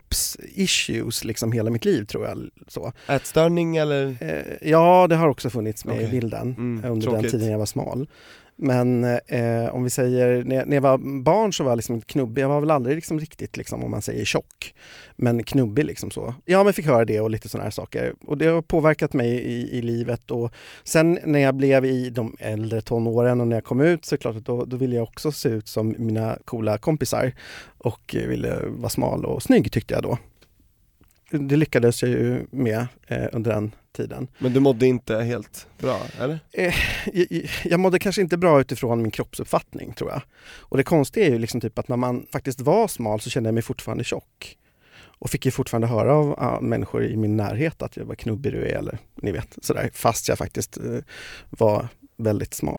[SPEAKER 2] kroppsissues liksom hela mitt liv tror jag. Så.
[SPEAKER 4] Ätstörning eller?
[SPEAKER 2] Eh, Ja, det har också funnits med i
[SPEAKER 4] Okej.
[SPEAKER 2] bilden
[SPEAKER 4] Mm,
[SPEAKER 2] under
[SPEAKER 4] tråkigt.
[SPEAKER 2] den tiden jag var smal. Men eh, om vi säger, när jag, när jag var barn så var jag liksom inte knubbig, jag var väl aldrig liksom riktigt liksom, om man säger tjock, men knubbig liksom så. Ja men fick höra det och lite sådana här saker och det har påverkat mig i, i livet och sen när jag blev i de äldre tonåren och när jag kom ut så är det klart att då, då ville jag också se ut som mina coola kompisar och eh, ville vara smal och snygg tyckte jag då. Det lyckades jag ju med eh, under den tiden.
[SPEAKER 4] Men du mådde inte helt bra, eller?
[SPEAKER 2] jag, jag mådde kanske inte bra utifrån min kroppsuppfattning tror jag. Och det konstiga är ju liksom typ att när man faktiskt var smal så kände jag mig fortfarande tjock. Och fick ju fortfarande höra av ah, människor i min närhet att jag var knubbig du är eller ni vet sådär. Fast jag faktiskt eh, var väldigt smal.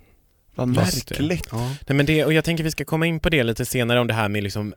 [SPEAKER 4] Vad
[SPEAKER 3] Just det.
[SPEAKER 4] märkligt.
[SPEAKER 3] Nej, men det, och jag tänker vi ska komma in på det lite senare om det här med liksom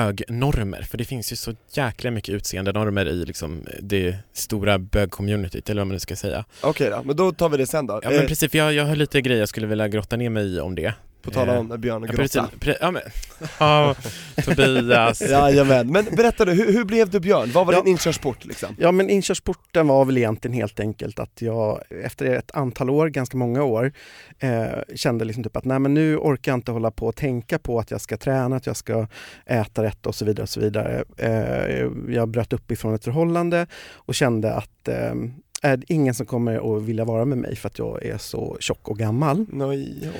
[SPEAKER 3] bögnormer, för det finns ju så jäkla mycket utseendenormer i liksom det stora bögcommunityt, eller vad man nu ska säga.
[SPEAKER 4] Okej då, men då tar vi det sen då.
[SPEAKER 3] Ja men
[SPEAKER 4] Eh,
[SPEAKER 3] precis, för jag, jag har lite grejer jag skulle vilja grotta ner mig i om det.
[SPEAKER 4] På tal
[SPEAKER 3] Eh,
[SPEAKER 4] om när Björn
[SPEAKER 3] ja,
[SPEAKER 4] grotta.
[SPEAKER 3] precis, pre, ja, men, ja, Tobias.
[SPEAKER 4] Jajamän, men berätta nu, hur, hur blev du Björn? Vad var
[SPEAKER 2] Ja.
[SPEAKER 4] din inkörsport liksom?
[SPEAKER 2] Ja, men inkörsporten var väl egentligen helt enkelt att jag efter ett antal år, ganska många år, eh, kände liksom typ att nej, men nu orkar jag inte hålla på och tänka på att jag ska träna, att jag ska äta rätt och så vidare. Och så vidare. Eh, jag bröt upp ifrån ett förhållande och kände att eh, är det ingen som kommer att vilja vara med mig för att jag är så tjock och gammal.
[SPEAKER 4] Nej,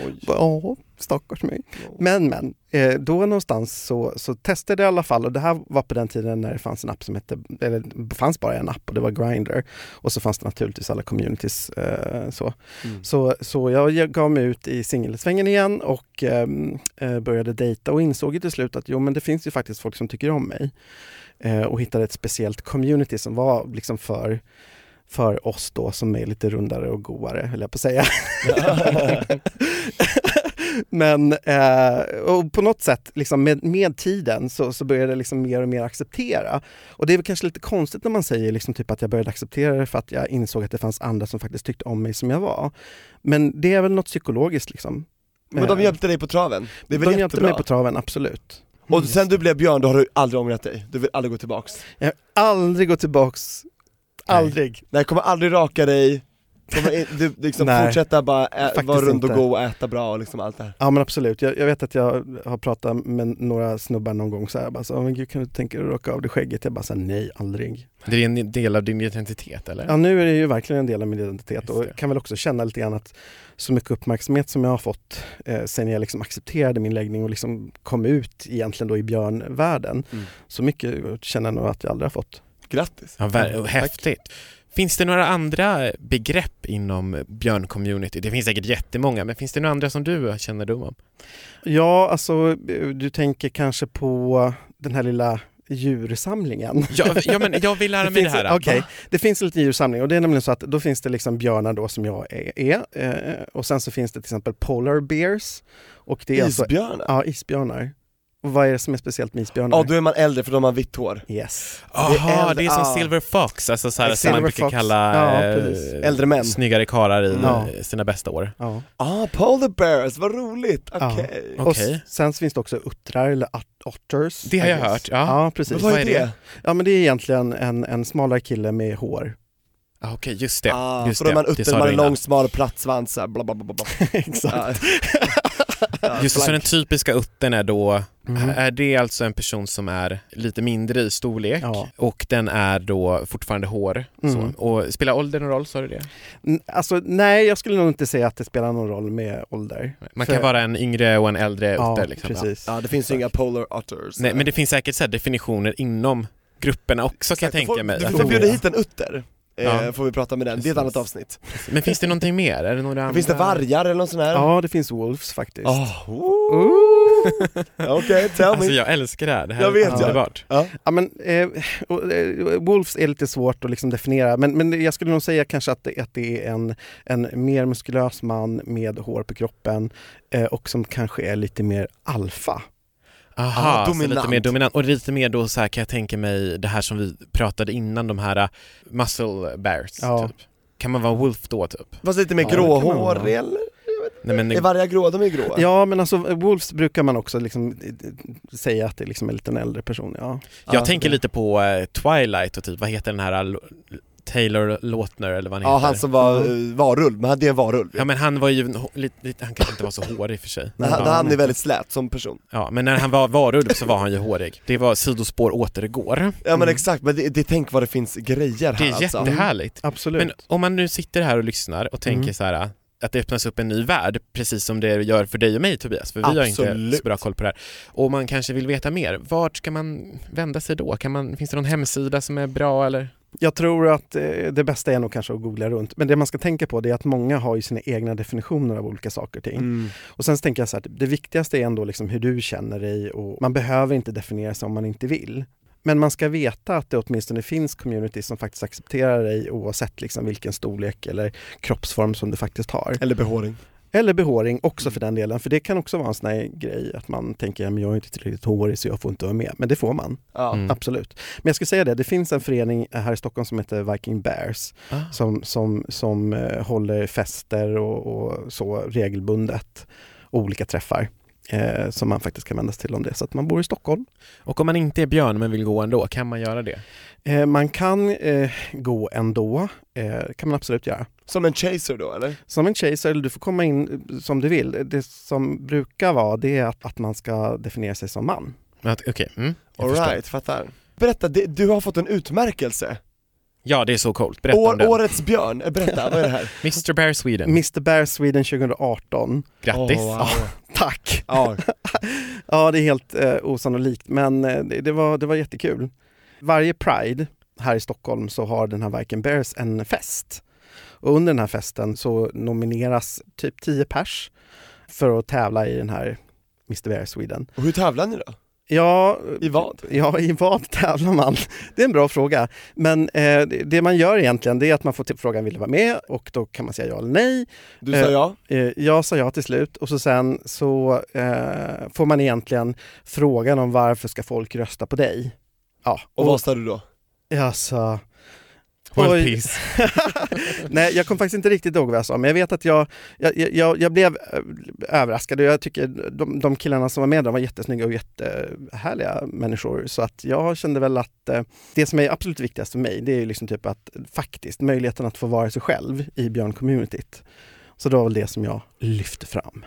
[SPEAKER 4] oj.
[SPEAKER 2] Ja, stackars mig. Men, men. eh, Då någonstans så, så testade jag i alla fall och det här var på den tiden när det fanns en app som hette, eller det fanns bara en app och det var Grindr. Och så fanns det naturligtvis alla communities. Eh, så. Så, så jag gav mig ut i singelsvängen igen och ehm, eh, började dejta och insåg ju till slut att jo men det finns ju faktiskt folk som tycker om mig. Eh, och hittade ett speciellt community som var liksom för för oss då som är lite rundare och goare, höll jag på att säga. Men eh, och på något sätt, liksom med, med tiden, så, så började jag liksom mer och mer acceptera. Och det är väl kanske lite konstigt när man säger liksom typ att jag började acceptera det för att jag insåg att det fanns andra som faktiskt tyckte om mig som jag var. Men det är väl något psykologiskt. Liksom.
[SPEAKER 4] Men de
[SPEAKER 2] Eh,
[SPEAKER 4] hjälpte dig på traven? Det är väl
[SPEAKER 2] de
[SPEAKER 4] jättebra?
[SPEAKER 2] hjälpte mig på traven, absolut.
[SPEAKER 4] Och sen du blev Björn, då har du aldrig ångrat dig? Du vill aldrig gå tillbaks?
[SPEAKER 2] Jag har aldrig gått tillbaks, aldrig.
[SPEAKER 4] Nej, kommer aldrig raka dig, kommer in, du liksom
[SPEAKER 2] Nej,
[SPEAKER 4] fortsätta bara ä,
[SPEAKER 2] faktiskt
[SPEAKER 4] vara rund och
[SPEAKER 2] inte.
[SPEAKER 4] gå och äta bra och liksom allt det här.
[SPEAKER 2] Ja men absolut, jag, jag vet att jag har pratat med några snubbar någon gång så här, jag bara så, "Åh, men gud kan du tänka dig att raka av dig skägget? Jag bara så här, nej aldrig.
[SPEAKER 3] Det är en del av din identitet eller?
[SPEAKER 2] Ja, nu är det ju verkligen en del av min identitet
[SPEAKER 3] Just
[SPEAKER 2] och
[SPEAKER 3] det.
[SPEAKER 2] kan väl också känna lite grann att så mycket uppmärksamhet som jag har fått eh, sen jag liksom accepterade min läggning och liksom kom ut egentligen då i björnvärlden,
[SPEAKER 4] Mm.
[SPEAKER 2] så mycket känner jag nog att jag aldrig har fått.
[SPEAKER 4] Grattis!
[SPEAKER 3] Ja, ver- häftigt. Finns det några andra begrepp inom björncommunity? Det finns säkert jättemånga, men finns det några andra som du känner dum om?
[SPEAKER 2] Ja, alltså eh, du tänker kanske på den här lilla djursamlingen.
[SPEAKER 3] Ja, ja men jag vill lära mig det
[SPEAKER 2] finns,
[SPEAKER 3] här.
[SPEAKER 2] okej. det finns lite djursamling och det är nämligen så att då finns det liksom björnar då som jag är, är eh, och sen så finns det till exempel polar bears. Och det är alltså,
[SPEAKER 4] Isbjörnar?
[SPEAKER 2] ja, isbjörnar. Och vad är det som är speciellt med isbjörnar?
[SPEAKER 4] Ja, då är man äldre för de har vitt hår.
[SPEAKER 2] Yes.
[SPEAKER 3] Jaha,
[SPEAKER 4] äldre-
[SPEAKER 3] det är som
[SPEAKER 4] ah.
[SPEAKER 3] silver fox, alltså så här,
[SPEAKER 2] Exakt.
[SPEAKER 3] som man
[SPEAKER 2] Silver
[SPEAKER 3] brukar
[SPEAKER 2] fox.
[SPEAKER 3] kalla
[SPEAKER 2] Ja,
[SPEAKER 3] eh,
[SPEAKER 2] precis.
[SPEAKER 4] Äldre män.
[SPEAKER 3] snyggare karlar i
[SPEAKER 2] Ja.
[SPEAKER 3] eh, sina bästa år.
[SPEAKER 2] Ja.
[SPEAKER 4] Ah, polar bears, vad roligt!
[SPEAKER 2] Ja.
[SPEAKER 4] Okej.
[SPEAKER 3] Och-
[SPEAKER 2] Och
[SPEAKER 3] Okej.
[SPEAKER 2] s- sen så finns det också uttrar eller ot- otters.
[SPEAKER 3] Det har jag
[SPEAKER 2] I guess.
[SPEAKER 3] hört, ja.
[SPEAKER 2] Ja,
[SPEAKER 4] Men
[SPEAKER 2] precis.
[SPEAKER 4] vad är det?
[SPEAKER 2] Ja, men det är egentligen en, en smalare kille med hår.
[SPEAKER 3] Ah, Okej, just det.
[SPEAKER 4] Ah,
[SPEAKER 3] just
[SPEAKER 4] för då är man
[SPEAKER 3] det. Det sa
[SPEAKER 4] utter, man
[SPEAKER 3] du
[SPEAKER 4] är
[SPEAKER 3] innan.
[SPEAKER 4] lång, smal, platt svans, så här, bla bla bla bla, bla.
[SPEAKER 2] Exakt.
[SPEAKER 4] Ja. Ja,
[SPEAKER 3] Just det, så den
[SPEAKER 4] blank.
[SPEAKER 3] typiska uttern är då, är det alltså en person som är lite mindre i storlek
[SPEAKER 2] Ja.
[SPEAKER 3] och den är då fortfarande hår.
[SPEAKER 2] Mm.
[SPEAKER 3] Så. Och spelar åldern någon roll, sa du det?
[SPEAKER 2] N- Alltså, nej, jag skulle nog inte säga att det spelar någon roll med ålder.
[SPEAKER 3] Man
[SPEAKER 2] För-
[SPEAKER 3] kan vara en yngre och en äldre
[SPEAKER 2] Ja,
[SPEAKER 3] utter liksom. Ja.
[SPEAKER 2] precis.
[SPEAKER 4] Ja, det finns ju inga polar otters.
[SPEAKER 3] Nej, men det finns säkert så här definitioner inom grupperna också kan jag
[SPEAKER 4] Exakt,
[SPEAKER 3] tänka
[SPEAKER 4] får-
[SPEAKER 3] mig.
[SPEAKER 4] Du
[SPEAKER 3] Att-
[SPEAKER 4] får bjuda hit en utter, eh,
[SPEAKER 3] Ja.
[SPEAKER 4] får vi prata med den, det är ett
[SPEAKER 3] Precis.
[SPEAKER 4] annat avsnitt.
[SPEAKER 3] Men finns det någonting mer? Är det några andra?
[SPEAKER 4] Finns det vargar eller något sånt här?
[SPEAKER 2] Ja, det finns wolves faktiskt.
[SPEAKER 4] Ah, ooh. Okej, tell
[SPEAKER 3] Alltså
[SPEAKER 4] me.
[SPEAKER 3] jag älskar det här, det här
[SPEAKER 4] Jag vet,
[SPEAKER 3] är
[SPEAKER 4] ja.
[SPEAKER 3] underbart.
[SPEAKER 4] Ja.
[SPEAKER 2] Ja, men, eh, och, eh, Wolves är lite svårt att liksom definiera, men, men jag skulle nog säga kanske att det, att det är en, en mer muskulös man med hår på kroppen eh, och som kanske är lite mer alfa.
[SPEAKER 3] Aha,
[SPEAKER 4] Ah,
[SPEAKER 3] så
[SPEAKER 4] dominant.
[SPEAKER 3] lite mer dominant. Och lite mer då så här kan jag tänka mig det här som vi pratade innan, de här uh, muscle bears
[SPEAKER 2] Ja.
[SPEAKER 3] typ. Kan man vara wolf då typ?
[SPEAKER 4] Fast lite mer
[SPEAKER 2] Ja, det kan man
[SPEAKER 4] gråhårig
[SPEAKER 2] vara.
[SPEAKER 4] eller?
[SPEAKER 3] Nej, men,
[SPEAKER 4] Är vargar grå? De är gråa.
[SPEAKER 2] Ja, men alltså Wolves brukar man också liksom eh, eh, säga att det är liksom en liten äldre person. Ja.
[SPEAKER 3] jag
[SPEAKER 4] Ah,
[SPEAKER 3] tänker
[SPEAKER 4] okej.
[SPEAKER 3] lite på eh, Twilight och typ, vad heter den här uh, Taylor Lautner eller vad han
[SPEAKER 4] Ja,
[SPEAKER 3] heter?
[SPEAKER 4] han som var eh, varulv, men han- det är en varulv.
[SPEAKER 3] Ja men han var ju, en hå- lite, lite, han kanske inte var så hårig för sig.
[SPEAKER 4] Men han,
[SPEAKER 3] ja,
[SPEAKER 4] han är väldigt slät som person.
[SPEAKER 3] ja, men när han var varulv så var han ju hårig. Det var sidospår återgår.
[SPEAKER 4] Ja men exakt, men det, det, tänk vad det finns grejer här
[SPEAKER 3] Mm. Det är
[SPEAKER 4] alltså.
[SPEAKER 3] jättehärligt.
[SPEAKER 2] Absolut.
[SPEAKER 3] Men om man nu sitter här och lyssnar och
[SPEAKER 4] Mm.
[SPEAKER 3] tänker så här att det öppnas upp en ny värld, precis som det gör för dig och mig Tobias, för vi har inte
[SPEAKER 4] Absolut.
[SPEAKER 3] så bra koll på det här. Och man kanske vill veta mer, vart ska man vända sig då? Kan man, finns det någon hemsida som är bra eller?
[SPEAKER 2] Jag tror att eh, det bästa är nog kanske att googla runt. Men det man ska tänka på det är att många har ju sina egna definitioner av olika saker och ting. Och sen så tänker jag så här, att det viktigaste är ändå liksom hur du känner dig och man behöver inte definiera sig om man inte vill. Men man ska veta att det åtminstone finns community som faktiskt accepterar dig oavsett liksom vilken storlek eller kroppsform som du faktiskt har.
[SPEAKER 4] Mm. Eller behåring.
[SPEAKER 2] Eller behåring också för den delen, för det kan också vara en sån här grej att man tänker ja, men jag är inte tillräckligt hårig så jag får inte vara med. Men det får man,
[SPEAKER 4] Ja.
[SPEAKER 3] Mm.
[SPEAKER 2] absolut. Men jag skulle säga det, det finns en förening eh, här i Stockholm som heter Viking Bears
[SPEAKER 3] Ah.
[SPEAKER 2] som, som, som eh, håller fester och, och så regelbundet, olika träffar eh, som man faktiskt kan vända sig till om det är så att man bor i Stockholm.
[SPEAKER 3] Och om man inte är björn men vill gå ändå, kan man göra det?
[SPEAKER 2] Eh, man kan eh, gå ändå, eh, kan man absolut göra.
[SPEAKER 4] Som en chaser då eller?
[SPEAKER 2] Som en chaser, eller du får komma in eh, som du vill. Det som brukar vara det är att, att man ska definiera sig som man.
[SPEAKER 3] Men att- Okej, mm, jag förstår.
[SPEAKER 4] Alright, fattar. Berätta, det, du har fått en utmärkelse.
[SPEAKER 3] Ja, det är så coolt. Berätta om
[SPEAKER 4] År,
[SPEAKER 3] den.
[SPEAKER 4] årets björn, Eh, berätta, vad är det här?
[SPEAKER 3] Mr Bear Sweden.
[SPEAKER 2] Mr Bear Sweden 2018.
[SPEAKER 3] Grattis.
[SPEAKER 4] Åh, wow.
[SPEAKER 2] Tack!
[SPEAKER 4] Ja,
[SPEAKER 2] Ja, det är helt eh, osannolikt, men eh, det, det, var, det var jättekul. Varje Pride här i Stockholm så har den här Viking Bears en fest. Och under den här festen så nomineras typ 10 pers för att tävla i den här Mr Bear Sweden.
[SPEAKER 4] och hur tävlar ni då?
[SPEAKER 2] Ja,
[SPEAKER 4] I vad?
[SPEAKER 2] Ja, i vad tävlar man? Det är en bra fråga. Men eh, det- det man gör egentligen det är att man får till frågan vill du vara med och då kan man säga ja eller nej.
[SPEAKER 4] Du sa
[SPEAKER 2] Eh,
[SPEAKER 4] ja?
[SPEAKER 2] Eh, jag sa ja till slut och så sen så eh, får man egentligen frågan om varför ska folk rösta på dig? Ja,
[SPEAKER 4] Och vad sa du då?
[SPEAKER 2] jag sa...
[SPEAKER 3] World
[SPEAKER 2] alltså. Oj.
[SPEAKER 3] peace.
[SPEAKER 2] Nej, jag kommer faktiskt inte riktigt ihåg vad jag sa, men jag vet att jag, jag, jag, jag blev eh, överraskad och jag tycker de, de killarna som var med, de var jättesnygga och jättehärliga människor. Så att jag kände väl att eh, det som är absolut viktigast för mig, det är ju liksom typ att faktiskt möjligheten att få vara sig själv i björncommunityt. Så det var väl det som jag lyfte fram.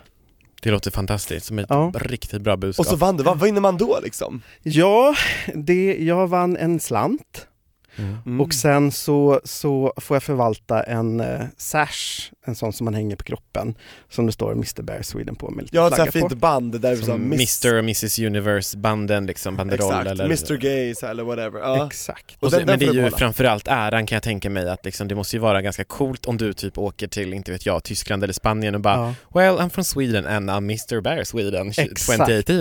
[SPEAKER 3] Det låter fantastiskt, som ett
[SPEAKER 2] Ja.
[SPEAKER 3] riktigt bra budskap.
[SPEAKER 4] Och så vann du, vad vinner man då liksom?
[SPEAKER 2] Ja, det, jag vann en slant
[SPEAKER 4] Mm.
[SPEAKER 2] och sen så, så får jag förvalta en eh, sash, en sån som man hänger på kroppen, som det står Mr Bear Sweden på med lite
[SPEAKER 4] jag har ett sånt
[SPEAKER 2] flagga
[SPEAKER 4] här
[SPEAKER 2] på.
[SPEAKER 4] fint band där du sa
[SPEAKER 3] som
[SPEAKER 4] liksom miss-
[SPEAKER 3] Mr och Mrs Universe-banden, liksom, banderoll
[SPEAKER 4] Exakt,
[SPEAKER 3] eller...
[SPEAKER 4] Mr Gay så här, eller whatever. Ja.
[SPEAKER 2] Exakt.
[SPEAKER 4] Och
[SPEAKER 3] Och så,
[SPEAKER 4] den- den
[SPEAKER 3] men det
[SPEAKER 4] får
[SPEAKER 3] är
[SPEAKER 4] du
[SPEAKER 3] ju
[SPEAKER 4] behålla.
[SPEAKER 3] framförallt äran kan jag tänka mig att liksom, det måste ju vara ganska coolt om du typ åker till, inte vet jag, Tyskland eller Spanien och bara
[SPEAKER 2] Ja.
[SPEAKER 3] Well, I'm from Sweden and I'm Mr Bear Sweden
[SPEAKER 2] Exakt.
[SPEAKER 3] 2018.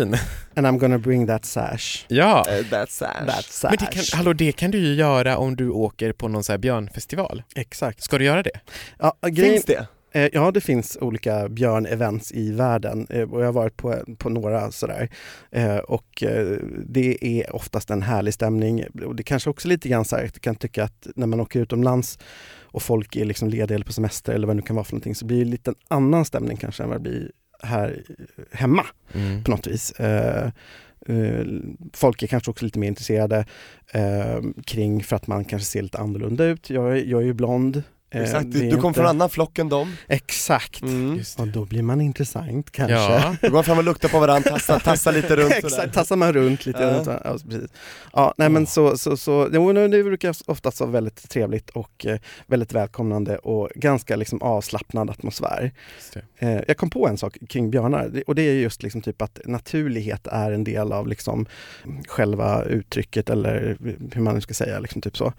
[SPEAKER 2] And I'm gonna bring that sash.
[SPEAKER 3] ja.
[SPEAKER 4] Eh, That's sash.
[SPEAKER 2] That sash.
[SPEAKER 3] Men det kan, hallå, det kan du ju göra om du åker på någon så här björnfestival.
[SPEAKER 2] Exakt.
[SPEAKER 3] Ska du göra det?
[SPEAKER 2] Ja, grejen,
[SPEAKER 4] Finns det?
[SPEAKER 2] Eh, Ja, det finns olika björnevents i världen eh, och jag har varit på, på några sådär. Eh, Och eh, det är oftast en härlig stämning. Och det kanske också lite grann så här, jag kan tycka att när man åker utomlands och folk är liksom lediga eller på semester eller vad det nu kan vara för någonting så blir det lite en annan stämning kanske än vad det blir här eh, hemma
[SPEAKER 4] Mm.
[SPEAKER 2] på något vis. Eh, eh, Folk är kanske också lite mer intresserade eh, kring för att man kanske ser lite annorlunda ut. Jag, är- jag är ju blond. Eh,
[SPEAKER 4] Exakt,
[SPEAKER 2] det
[SPEAKER 4] du,
[SPEAKER 2] är
[SPEAKER 4] du kom
[SPEAKER 2] inte-
[SPEAKER 4] från en annan flock än dem.
[SPEAKER 2] Exakt.
[SPEAKER 4] Mm.
[SPEAKER 3] Just
[SPEAKER 2] Och
[SPEAKER 3] det.
[SPEAKER 2] då blir man intressant kanske.
[SPEAKER 3] Ja.
[SPEAKER 4] Då går man fram och luktar på varandra, tassar, tassar lite runt
[SPEAKER 2] Exakt,
[SPEAKER 4] sådär.
[SPEAKER 2] tassar man runt lite.
[SPEAKER 4] Ja.
[SPEAKER 2] runt så här. Ja, precis. Ja, nej men så, så, så jo, nu- det brukar oftast vara väldigt trevligt och eh, väldigt välkomnande och ganska liksom avslappnad atmosfär.
[SPEAKER 3] Just det.
[SPEAKER 2] Eh, jag kom på en sak kring björnar det- och det är just liksom typ att naturlighet är en del av liksom själva uttrycket eller hur man nu ska säga. Liksom typ så.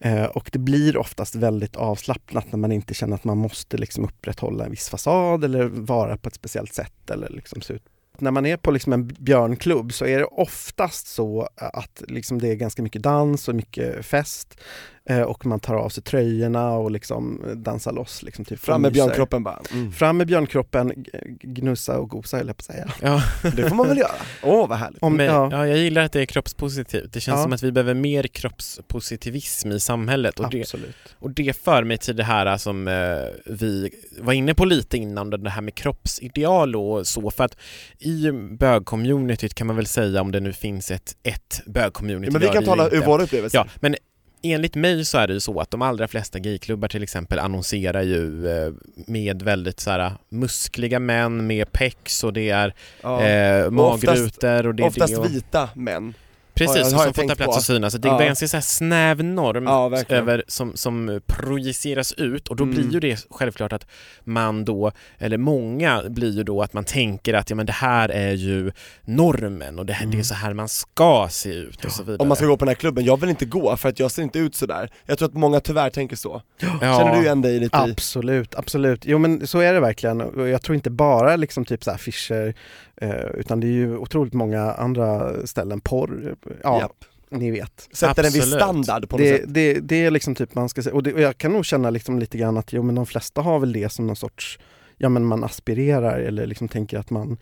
[SPEAKER 2] Eh, och det blir oftast väldigt avslappnat när man inte känner att man måste liksom upprätthålla en viss fasad eller vara på ett speciellt sätt eller liksom se ut när man är på liksom en björnklubb så är det oftast så att liksom det är ganska mycket dans och mycket fest eh, och man tar av sig tröjorna och liksom dansar loss. Liksom typ
[SPEAKER 4] Fram med
[SPEAKER 2] myser.
[SPEAKER 4] björnkroppen bara. Mm.
[SPEAKER 2] Fram med björnkroppen, g- gnussa och gosa höll jag på att säga.
[SPEAKER 3] Ja.
[SPEAKER 4] Det får man väl göra? Åh vad härligt.
[SPEAKER 2] Om,
[SPEAKER 3] men,
[SPEAKER 2] ja,
[SPEAKER 3] ja. jag gillar att det är kroppspositivt. Det känns
[SPEAKER 2] Ja.
[SPEAKER 3] som att vi behöver mer kroppspositivism i samhället och det,
[SPEAKER 2] absolut.
[SPEAKER 3] och det för mig till det här som eh, vi var inne på lite innan, det här med kroppsideal och så, för att i bögcommunityt kan man väl säga om det nu finns ett, ett bögcommunity.
[SPEAKER 4] Ja, men vi
[SPEAKER 3] det
[SPEAKER 4] kan
[SPEAKER 3] gör det ju
[SPEAKER 4] tala ur
[SPEAKER 3] inte.
[SPEAKER 4] våra upplevelser.
[SPEAKER 3] Ja, men enligt mig så är det ju så att de allra flesta gayklubbar till exempel annonserar ju eh, med väldigt så här äh, muskliga män med pex och det är
[SPEAKER 4] Ja.
[SPEAKER 3] eh,
[SPEAKER 4] Och oftast-
[SPEAKER 3] magrutor och det är
[SPEAKER 4] Oftast
[SPEAKER 3] det och...
[SPEAKER 4] vita män. Ja,
[SPEAKER 3] Precis,
[SPEAKER 4] det
[SPEAKER 3] och
[SPEAKER 4] har jag
[SPEAKER 3] som fått
[SPEAKER 4] tänkt
[SPEAKER 3] en plats
[SPEAKER 4] på.
[SPEAKER 3] att synas. Det
[SPEAKER 4] Ja.
[SPEAKER 3] är ganska så här snäv norm
[SPEAKER 4] Ja, verkligen.
[SPEAKER 3] över, som, som projiceras ut och då
[SPEAKER 4] Mm.
[SPEAKER 3] blir ju det självklart att man då, eller många blir ju då att man tänker att ja, men det här är ju normen och det, här, det är så här man ska se ut och så vidare.
[SPEAKER 4] Mm. Om man ska gå på den här klubben, jag vill inte gå för att jag ser inte ut sådär. Jag tror att många tyvärr tänker så.
[SPEAKER 3] ja.
[SPEAKER 4] Känner du igen dig lite i?
[SPEAKER 2] Absolut, absolut. Jo men så är det verkligen. Och jag tror inte bara liksom typ så här affischer, eh, utan det är ju otroligt många andra ställen. Porr, ja,
[SPEAKER 4] Japp.
[SPEAKER 2] ni vet.
[SPEAKER 4] Sätter en viss
[SPEAKER 3] Absolut.
[SPEAKER 4] standard på något
[SPEAKER 2] Det,
[SPEAKER 4] sätt.
[SPEAKER 2] det, det är liksom typ man ska säga, och, det, och jag kan nog känna liksom lite grann att jo men de flesta har väl det som någon sorts, ja men man aspirerar eller liksom tänker att man,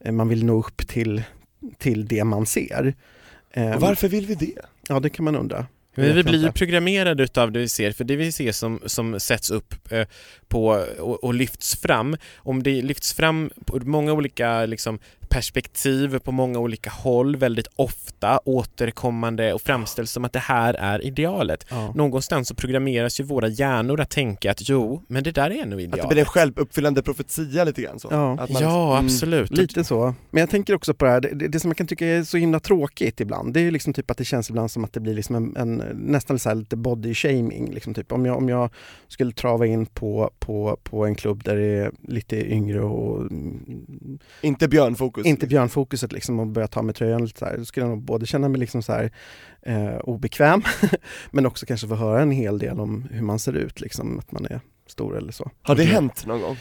[SPEAKER 2] eh, man vill nå upp till, till det man ser. Eh,
[SPEAKER 4] Och varför vill vi det?
[SPEAKER 2] Ja det kan man undra. Jag
[SPEAKER 3] Men vi
[SPEAKER 2] vet
[SPEAKER 3] blir ju
[SPEAKER 2] inte.
[SPEAKER 3] programmerade utav det vi ser, för det vi ser som, som sätts upp eh, på, och, och lyfts fram, om det lyfts fram på många olika liksom, perspektiv, på många olika håll, väldigt ofta, återkommande och framställs som att det här är idealet.
[SPEAKER 2] Ja.
[SPEAKER 3] Någonstans så programmeras ju våra hjärnor att tänka att jo, men det där är nog
[SPEAKER 4] Att Typ det blir en
[SPEAKER 3] idealet.
[SPEAKER 4] självuppfyllande profetia lite grann så?
[SPEAKER 2] Ja.
[SPEAKER 4] Att man-
[SPEAKER 3] Ja,
[SPEAKER 4] Mm.
[SPEAKER 3] absolut.
[SPEAKER 2] Lite så. Men jag tänker också på det här, det- det, det som jag kan tycka är så himla tråkigt ibland, det är ju liksom typ att det känns ibland som att det blir liksom en, en, nästan så här lite body shaming. Liksom typ. om, jag, om jag skulle trava in på, på, på en klubb där det är lite yngre och mm,
[SPEAKER 4] Inte björnfokus.
[SPEAKER 2] inte björnfokuset liksom och börja ta med tröjan lite så här, då skulle jag nog både känna mig liksom så här, eh, obekväm men också kanske få höra en hel del om hur man ser ut, liksom, att man är stor eller så.
[SPEAKER 4] Har det hänt någon gång?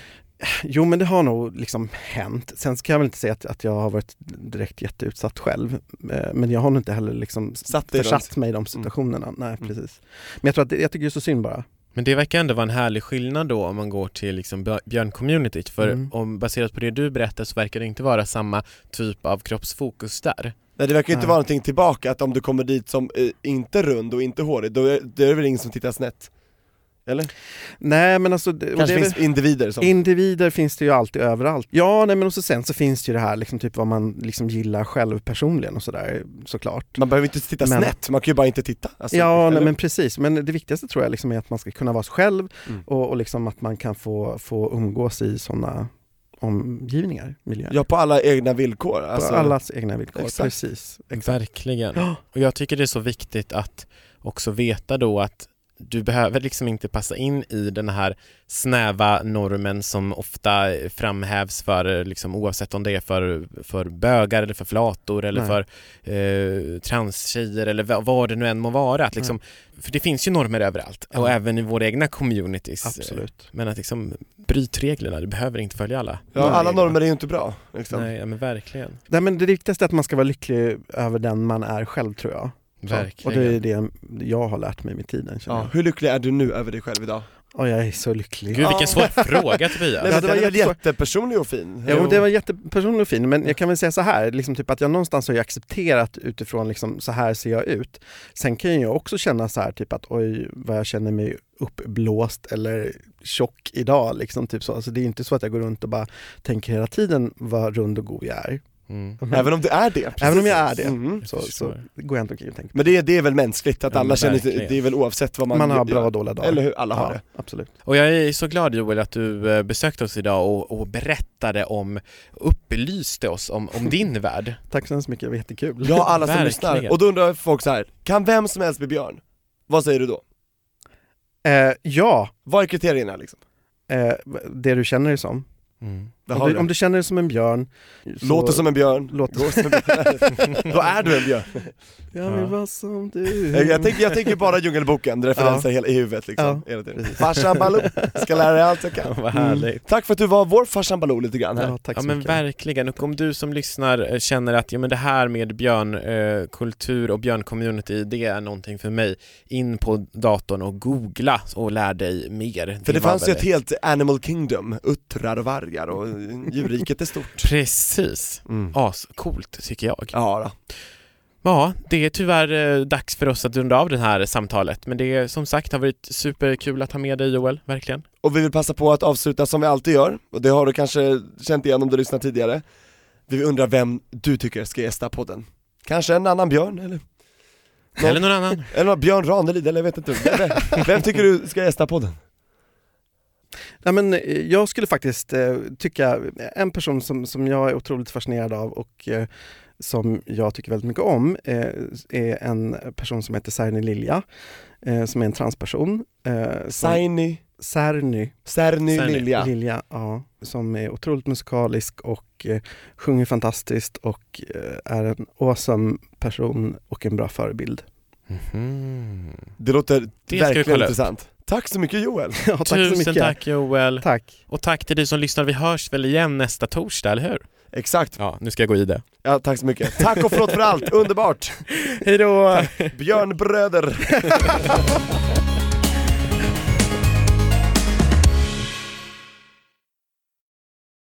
[SPEAKER 2] Jo men det har nog liksom hänt. Sen kan jag väl inte säga att, att jag har varit direkt jätteutsatt själv. Eh, Men jag har nog inte heller liksom
[SPEAKER 4] Satt dig Mm. i den-
[SPEAKER 2] försatt mig i de situationerna. Nej precis. Men jag tror att det, jag tycker det är så synd bara.
[SPEAKER 3] Men det verkar ändå vara en härlig skillnad då om man går till liksom björ- björncommunityt för
[SPEAKER 2] Mm.
[SPEAKER 3] om, baserat på det du berättar så verkar det inte vara samma typ av kroppsfokus där.
[SPEAKER 4] Nej det verkar ju inte
[SPEAKER 2] Nej.
[SPEAKER 4] vara någonting tillbaka, att om du kommer dit som eh, inte rund och inte hårig, då är, då är det väl ingen som tittar snett? Eller?
[SPEAKER 2] Nej men alltså, det, och det
[SPEAKER 4] Kanske
[SPEAKER 2] är
[SPEAKER 4] finns
[SPEAKER 2] väl,
[SPEAKER 4] individer som...
[SPEAKER 2] individer finns det ju alltid överallt. Ja nej, men och så sen så finns det ju det här liksom, typ vad man liksom gillar själv personligen och sådär såklart.
[SPEAKER 4] man behöver inte titta
[SPEAKER 2] Men-
[SPEAKER 4] snett, man kan ju bara inte titta. Alltså,
[SPEAKER 2] ja,
[SPEAKER 4] eller?
[SPEAKER 2] nej, men precis. Men det viktigaste tror jag liksom är att man ska kunna vara sig själv
[SPEAKER 4] Mm.
[SPEAKER 2] och, och liksom att man kan få, få umgås i sådana omgivningar, miljöer.
[SPEAKER 4] Ja, på alla egna villkor. Alltså,
[SPEAKER 2] på allas egna villkor.
[SPEAKER 4] Exakt.
[SPEAKER 2] Precis.
[SPEAKER 3] Verkligen.
[SPEAKER 2] Ja.
[SPEAKER 3] Och jag tycker det är så viktigt att också veta då att du behöver liksom inte passa in i den här snäva normen som ofta framhävs för, eh, liksom, oavsett om det är för, för bögar eller för flator eller
[SPEAKER 2] Nej.
[SPEAKER 3] för eh, transtjejer eller va- vad det nu än må vara. Att liksom, för det finns ju normer överallt och även i våra egna communities.
[SPEAKER 2] Absolut.
[SPEAKER 3] Men att liksom, bryt reglerna, du behöver inte följa alla.
[SPEAKER 4] ja, alla
[SPEAKER 3] regler.
[SPEAKER 4] normer är ju inte bra. Liksom.
[SPEAKER 3] Nej, ja, men verkligen.
[SPEAKER 2] Nej, men det viktigaste är att man ska vara lycklig över den man är själv tror jag. Så.
[SPEAKER 3] Verkligen.
[SPEAKER 2] Och det är det jag har lärt mig med tiden känner
[SPEAKER 4] Ja. Hur lycklig är du nu över dig själv idag?
[SPEAKER 2] jag. Och jag är så lycklig.
[SPEAKER 3] Gud vilken svår fråga
[SPEAKER 4] Nej,
[SPEAKER 3] Tobias.
[SPEAKER 4] men
[SPEAKER 2] det
[SPEAKER 4] det
[SPEAKER 2] var
[SPEAKER 4] var väl
[SPEAKER 2] jättesvår-
[SPEAKER 4] jättepersonlig och fin?
[SPEAKER 2] Jo, det var jättepersonligt och fint, men jag kan väl säga så här, liksom typ att jag någonstans har ju accepterat utifrån liksom, så här ser jag ut. Sen kan jag också känna så här, typ att oj vad jag känner mig uppblåst eller tjock idag. Liksom, typ så. Alltså, det är inte så att jag går runt och bara tänker hela tiden vad rund och god jag är.
[SPEAKER 3] Mm.
[SPEAKER 4] Även om du är det?
[SPEAKER 2] Även om jag är det.
[SPEAKER 4] Mm.
[SPEAKER 2] Så, så
[SPEAKER 3] förstår.
[SPEAKER 2] går jag inte omkring och tänker.
[SPEAKER 4] Men det, är- det är väl mänskligt att
[SPEAKER 3] Ja,
[SPEAKER 4] alla
[SPEAKER 3] men
[SPEAKER 4] känner,
[SPEAKER 3] verkligen.
[SPEAKER 4] det är väl oavsett vad man
[SPEAKER 2] Man, har
[SPEAKER 4] gör.
[SPEAKER 2] bra och dåliga dagar.
[SPEAKER 4] Eller hur, alla har det.
[SPEAKER 2] Absolut.
[SPEAKER 3] Och jag är så glad Joel att du eh, besökte oss idag och, och berättade om, upplyste oss om, om din värld.
[SPEAKER 2] Tack så hemskt mycket, det var jättekul.
[SPEAKER 4] Ja, alla som
[SPEAKER 3] Verkligen.
[SPEAKER 4] lyssnar. Och då undrar folk så här, kan vem som helst bli björn? Vad säger du då?
[SPEAKER 2] Eh, ja,
[SPEAKER 4] Vad är kriterierna liksom?
[SPEAKER 2] eh, det du känner dig som.
[SPEAKER 3] Mm.
[SPEAKER 4] Vad har
[SPEAKER 2] om, du,
[SPEAKER 4] du?
[SPEAKER 2] om du känner dig som en björn.
[SPEAKER 4] Låter som en björn,
[SPEAKER 2] Låter-
[SPEAKER 4] går som en björn. då är du en björn.
[SPEAKER 2] Jag vill
[SPEAKER 3] Ja.
[SPEAKER 2] vara som du.
[SPEAKER 4] Jag, jag, tänker, jag tänker bara Djungelboken, referenser hela, i huvudet liksom,
[SPEAKER 2] Ja,
[SPEAKER 4] hela tiden. Farsan Baloo, ska lära dig allt jag kan. Mm.
[SPEAKER 3] Vad härligt.
[SPEAKER 4] Tack för att du var vår farsan Baloo lite grann här.
[SPEAKER 2] Ja, tack
[SPEAKER 3] Ja
[SPEAKER 2] så
[SPEAKER 3] men
[SPEAKER 2] mycket.
[SPEAKER 3] verkligen, och om du som lyssnar eh, känner att ja, men det här med björnkultur eh, kultur och björncommunity, det är någonting för mig. In på datorn och googla och lär dig mer.
[SPEAKER 4] För det
[SPEAKER 3] var
[SPEAKER 4] fanns ju
[SPEAKER 3] väl
[SPEAKER 4] ett helt Animal Kingdom, uttrar och vargar och djurriket är stort.
[SPEAKER 3] Precis,
[SPEAKER 4] Mm.
[SPEAKER 3] ascoolt tycker jag.
[SPEAKER 4] Ja, då.
[SPEAKER 3] Ja, det är tyvärr eh, dags för oss att runda av det här samtalet, men det är som sagt har varit superkul att ha med dig Joel, verkligen.
[SPEAKER 4] Och vi vill passa på att avsluta som vi alltid gör, och det har du kanske känt igen om du lyssnat tidigare. Vi undrar vem du tycker ska gästa podden. Kanske en annan Björn, eller? Ja.
[SPEAKER 3] Eller någon annan.
[SPEAKER 4] Eller någon Björn Ranelid, eller jag vet inte. Vem, vem tycker du ska gästa podden?
[SPEAKER 2] Nej, men eh, jag skulle faktiskt eh, tycka, en person som, som jag är otroligt fascinerad av och eh, som jag tycker väldigt mycket om eh, är en person som heter Särny Lilja, eh, som är en transperson. Eh, som-
[SPEAKER 4] Saini,
[SPEAKER 2] Särny
[SPEAKER 4] Serny,
[SPEAKER 3] Serny.
[SPEAKER 4] Lilja.
[SPEAKER 2] Lilja, ja, som är otroligt musikalisk och eh, sjunger fantastiskt och eh, är en awesome person och en bra förebild.
[SPEAKER 3] Mhm.
[SPEAKER 4] Det låter
[SPEAKER 3] vi
[SPEAKER 4] verkligen
[SPEAKER 3] kolla upp.
[SPEAKER 4] intressant. Tack så mycket Joel.
[SPEAKER 2] Ja, tack så
[SPEAKER 3] Tusen
[SPEAKER 2] mycket.
[SPEAKER 3] tack Joel.
[SPEAKER 2] Tack.
[SPEAKER 3] Och tack till dig som lyssnar. Vi hörs väl igen nästa torsdag, eller hur?
[SPEAKER 4] Exakt.
[SPEAKER 3] Ja, nu ska jag gå i det.
[SPEAKER 4] Ja, tack så mycket. Tack och förlåt för allt, underbart.
[SPEAKER 3] Hej då!
[SPEAKER 4] Björnbröder.